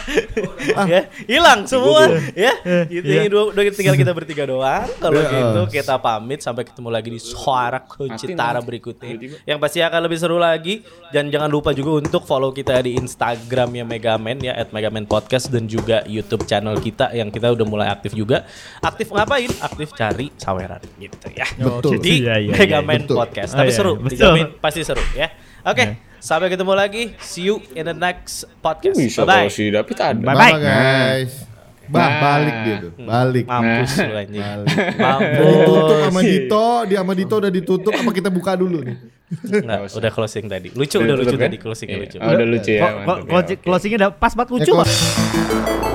S4: Ah.
S1: ya hilang semua ya gitu
S3: iya.
S1: ya dua, dua tinggal kita bertiga doang kalau
S4: Iya.
S1: gitu kita pamit sampai ketemu lagi di suara kucitara berikutnya yang pasti akan lebih seru lagi dan jangan lupa juga untuk follow kita di Instagramnya Megaman ya at Megaman Podcast dan juga YouTube channel kita yang kita udah mulai aktif juga aktif ngapain aktif cari saweran gitu ya
S4: Betul.
S1: jadi
S3: Iya, iya, iya.
S1: Megaman
S4: Betul.
S1: Podcast
S3: Oh,
S1: tapi
S3: iya,
S1: seru
S3: betul. Iya.
S1: dijamin pasti seru ya oke sampai ketemu lagi see you in the next podcast
S2: Bisa
S1: bye
S2: kalau si David ada.
S3: Bye-bye.
S4: Bye guys. Bah, balik dia tuh. Balik.
S1: mampus lu anjing
S4: Balik. Ditutup
S1: mampus
S4: sama Dito, dia sama Dito udah ditutup apa kita buka dulu nih?
S1: Enggak, udah closing tadi lucu udah
S2: Tutup,
S3: Iya, ya?
S1: lucu
S2: kan?
S1: tadi closingnya
S2: Iya.
S1: lucu
S2: Oh, udah lucu ya.
S3: Kok-
S2: mantap
S3: kok-
S2: ya,
S3: closing-
S2: oke.
S3: Closingnya udah pas banget lucu
S4: Eh,
S3: banget.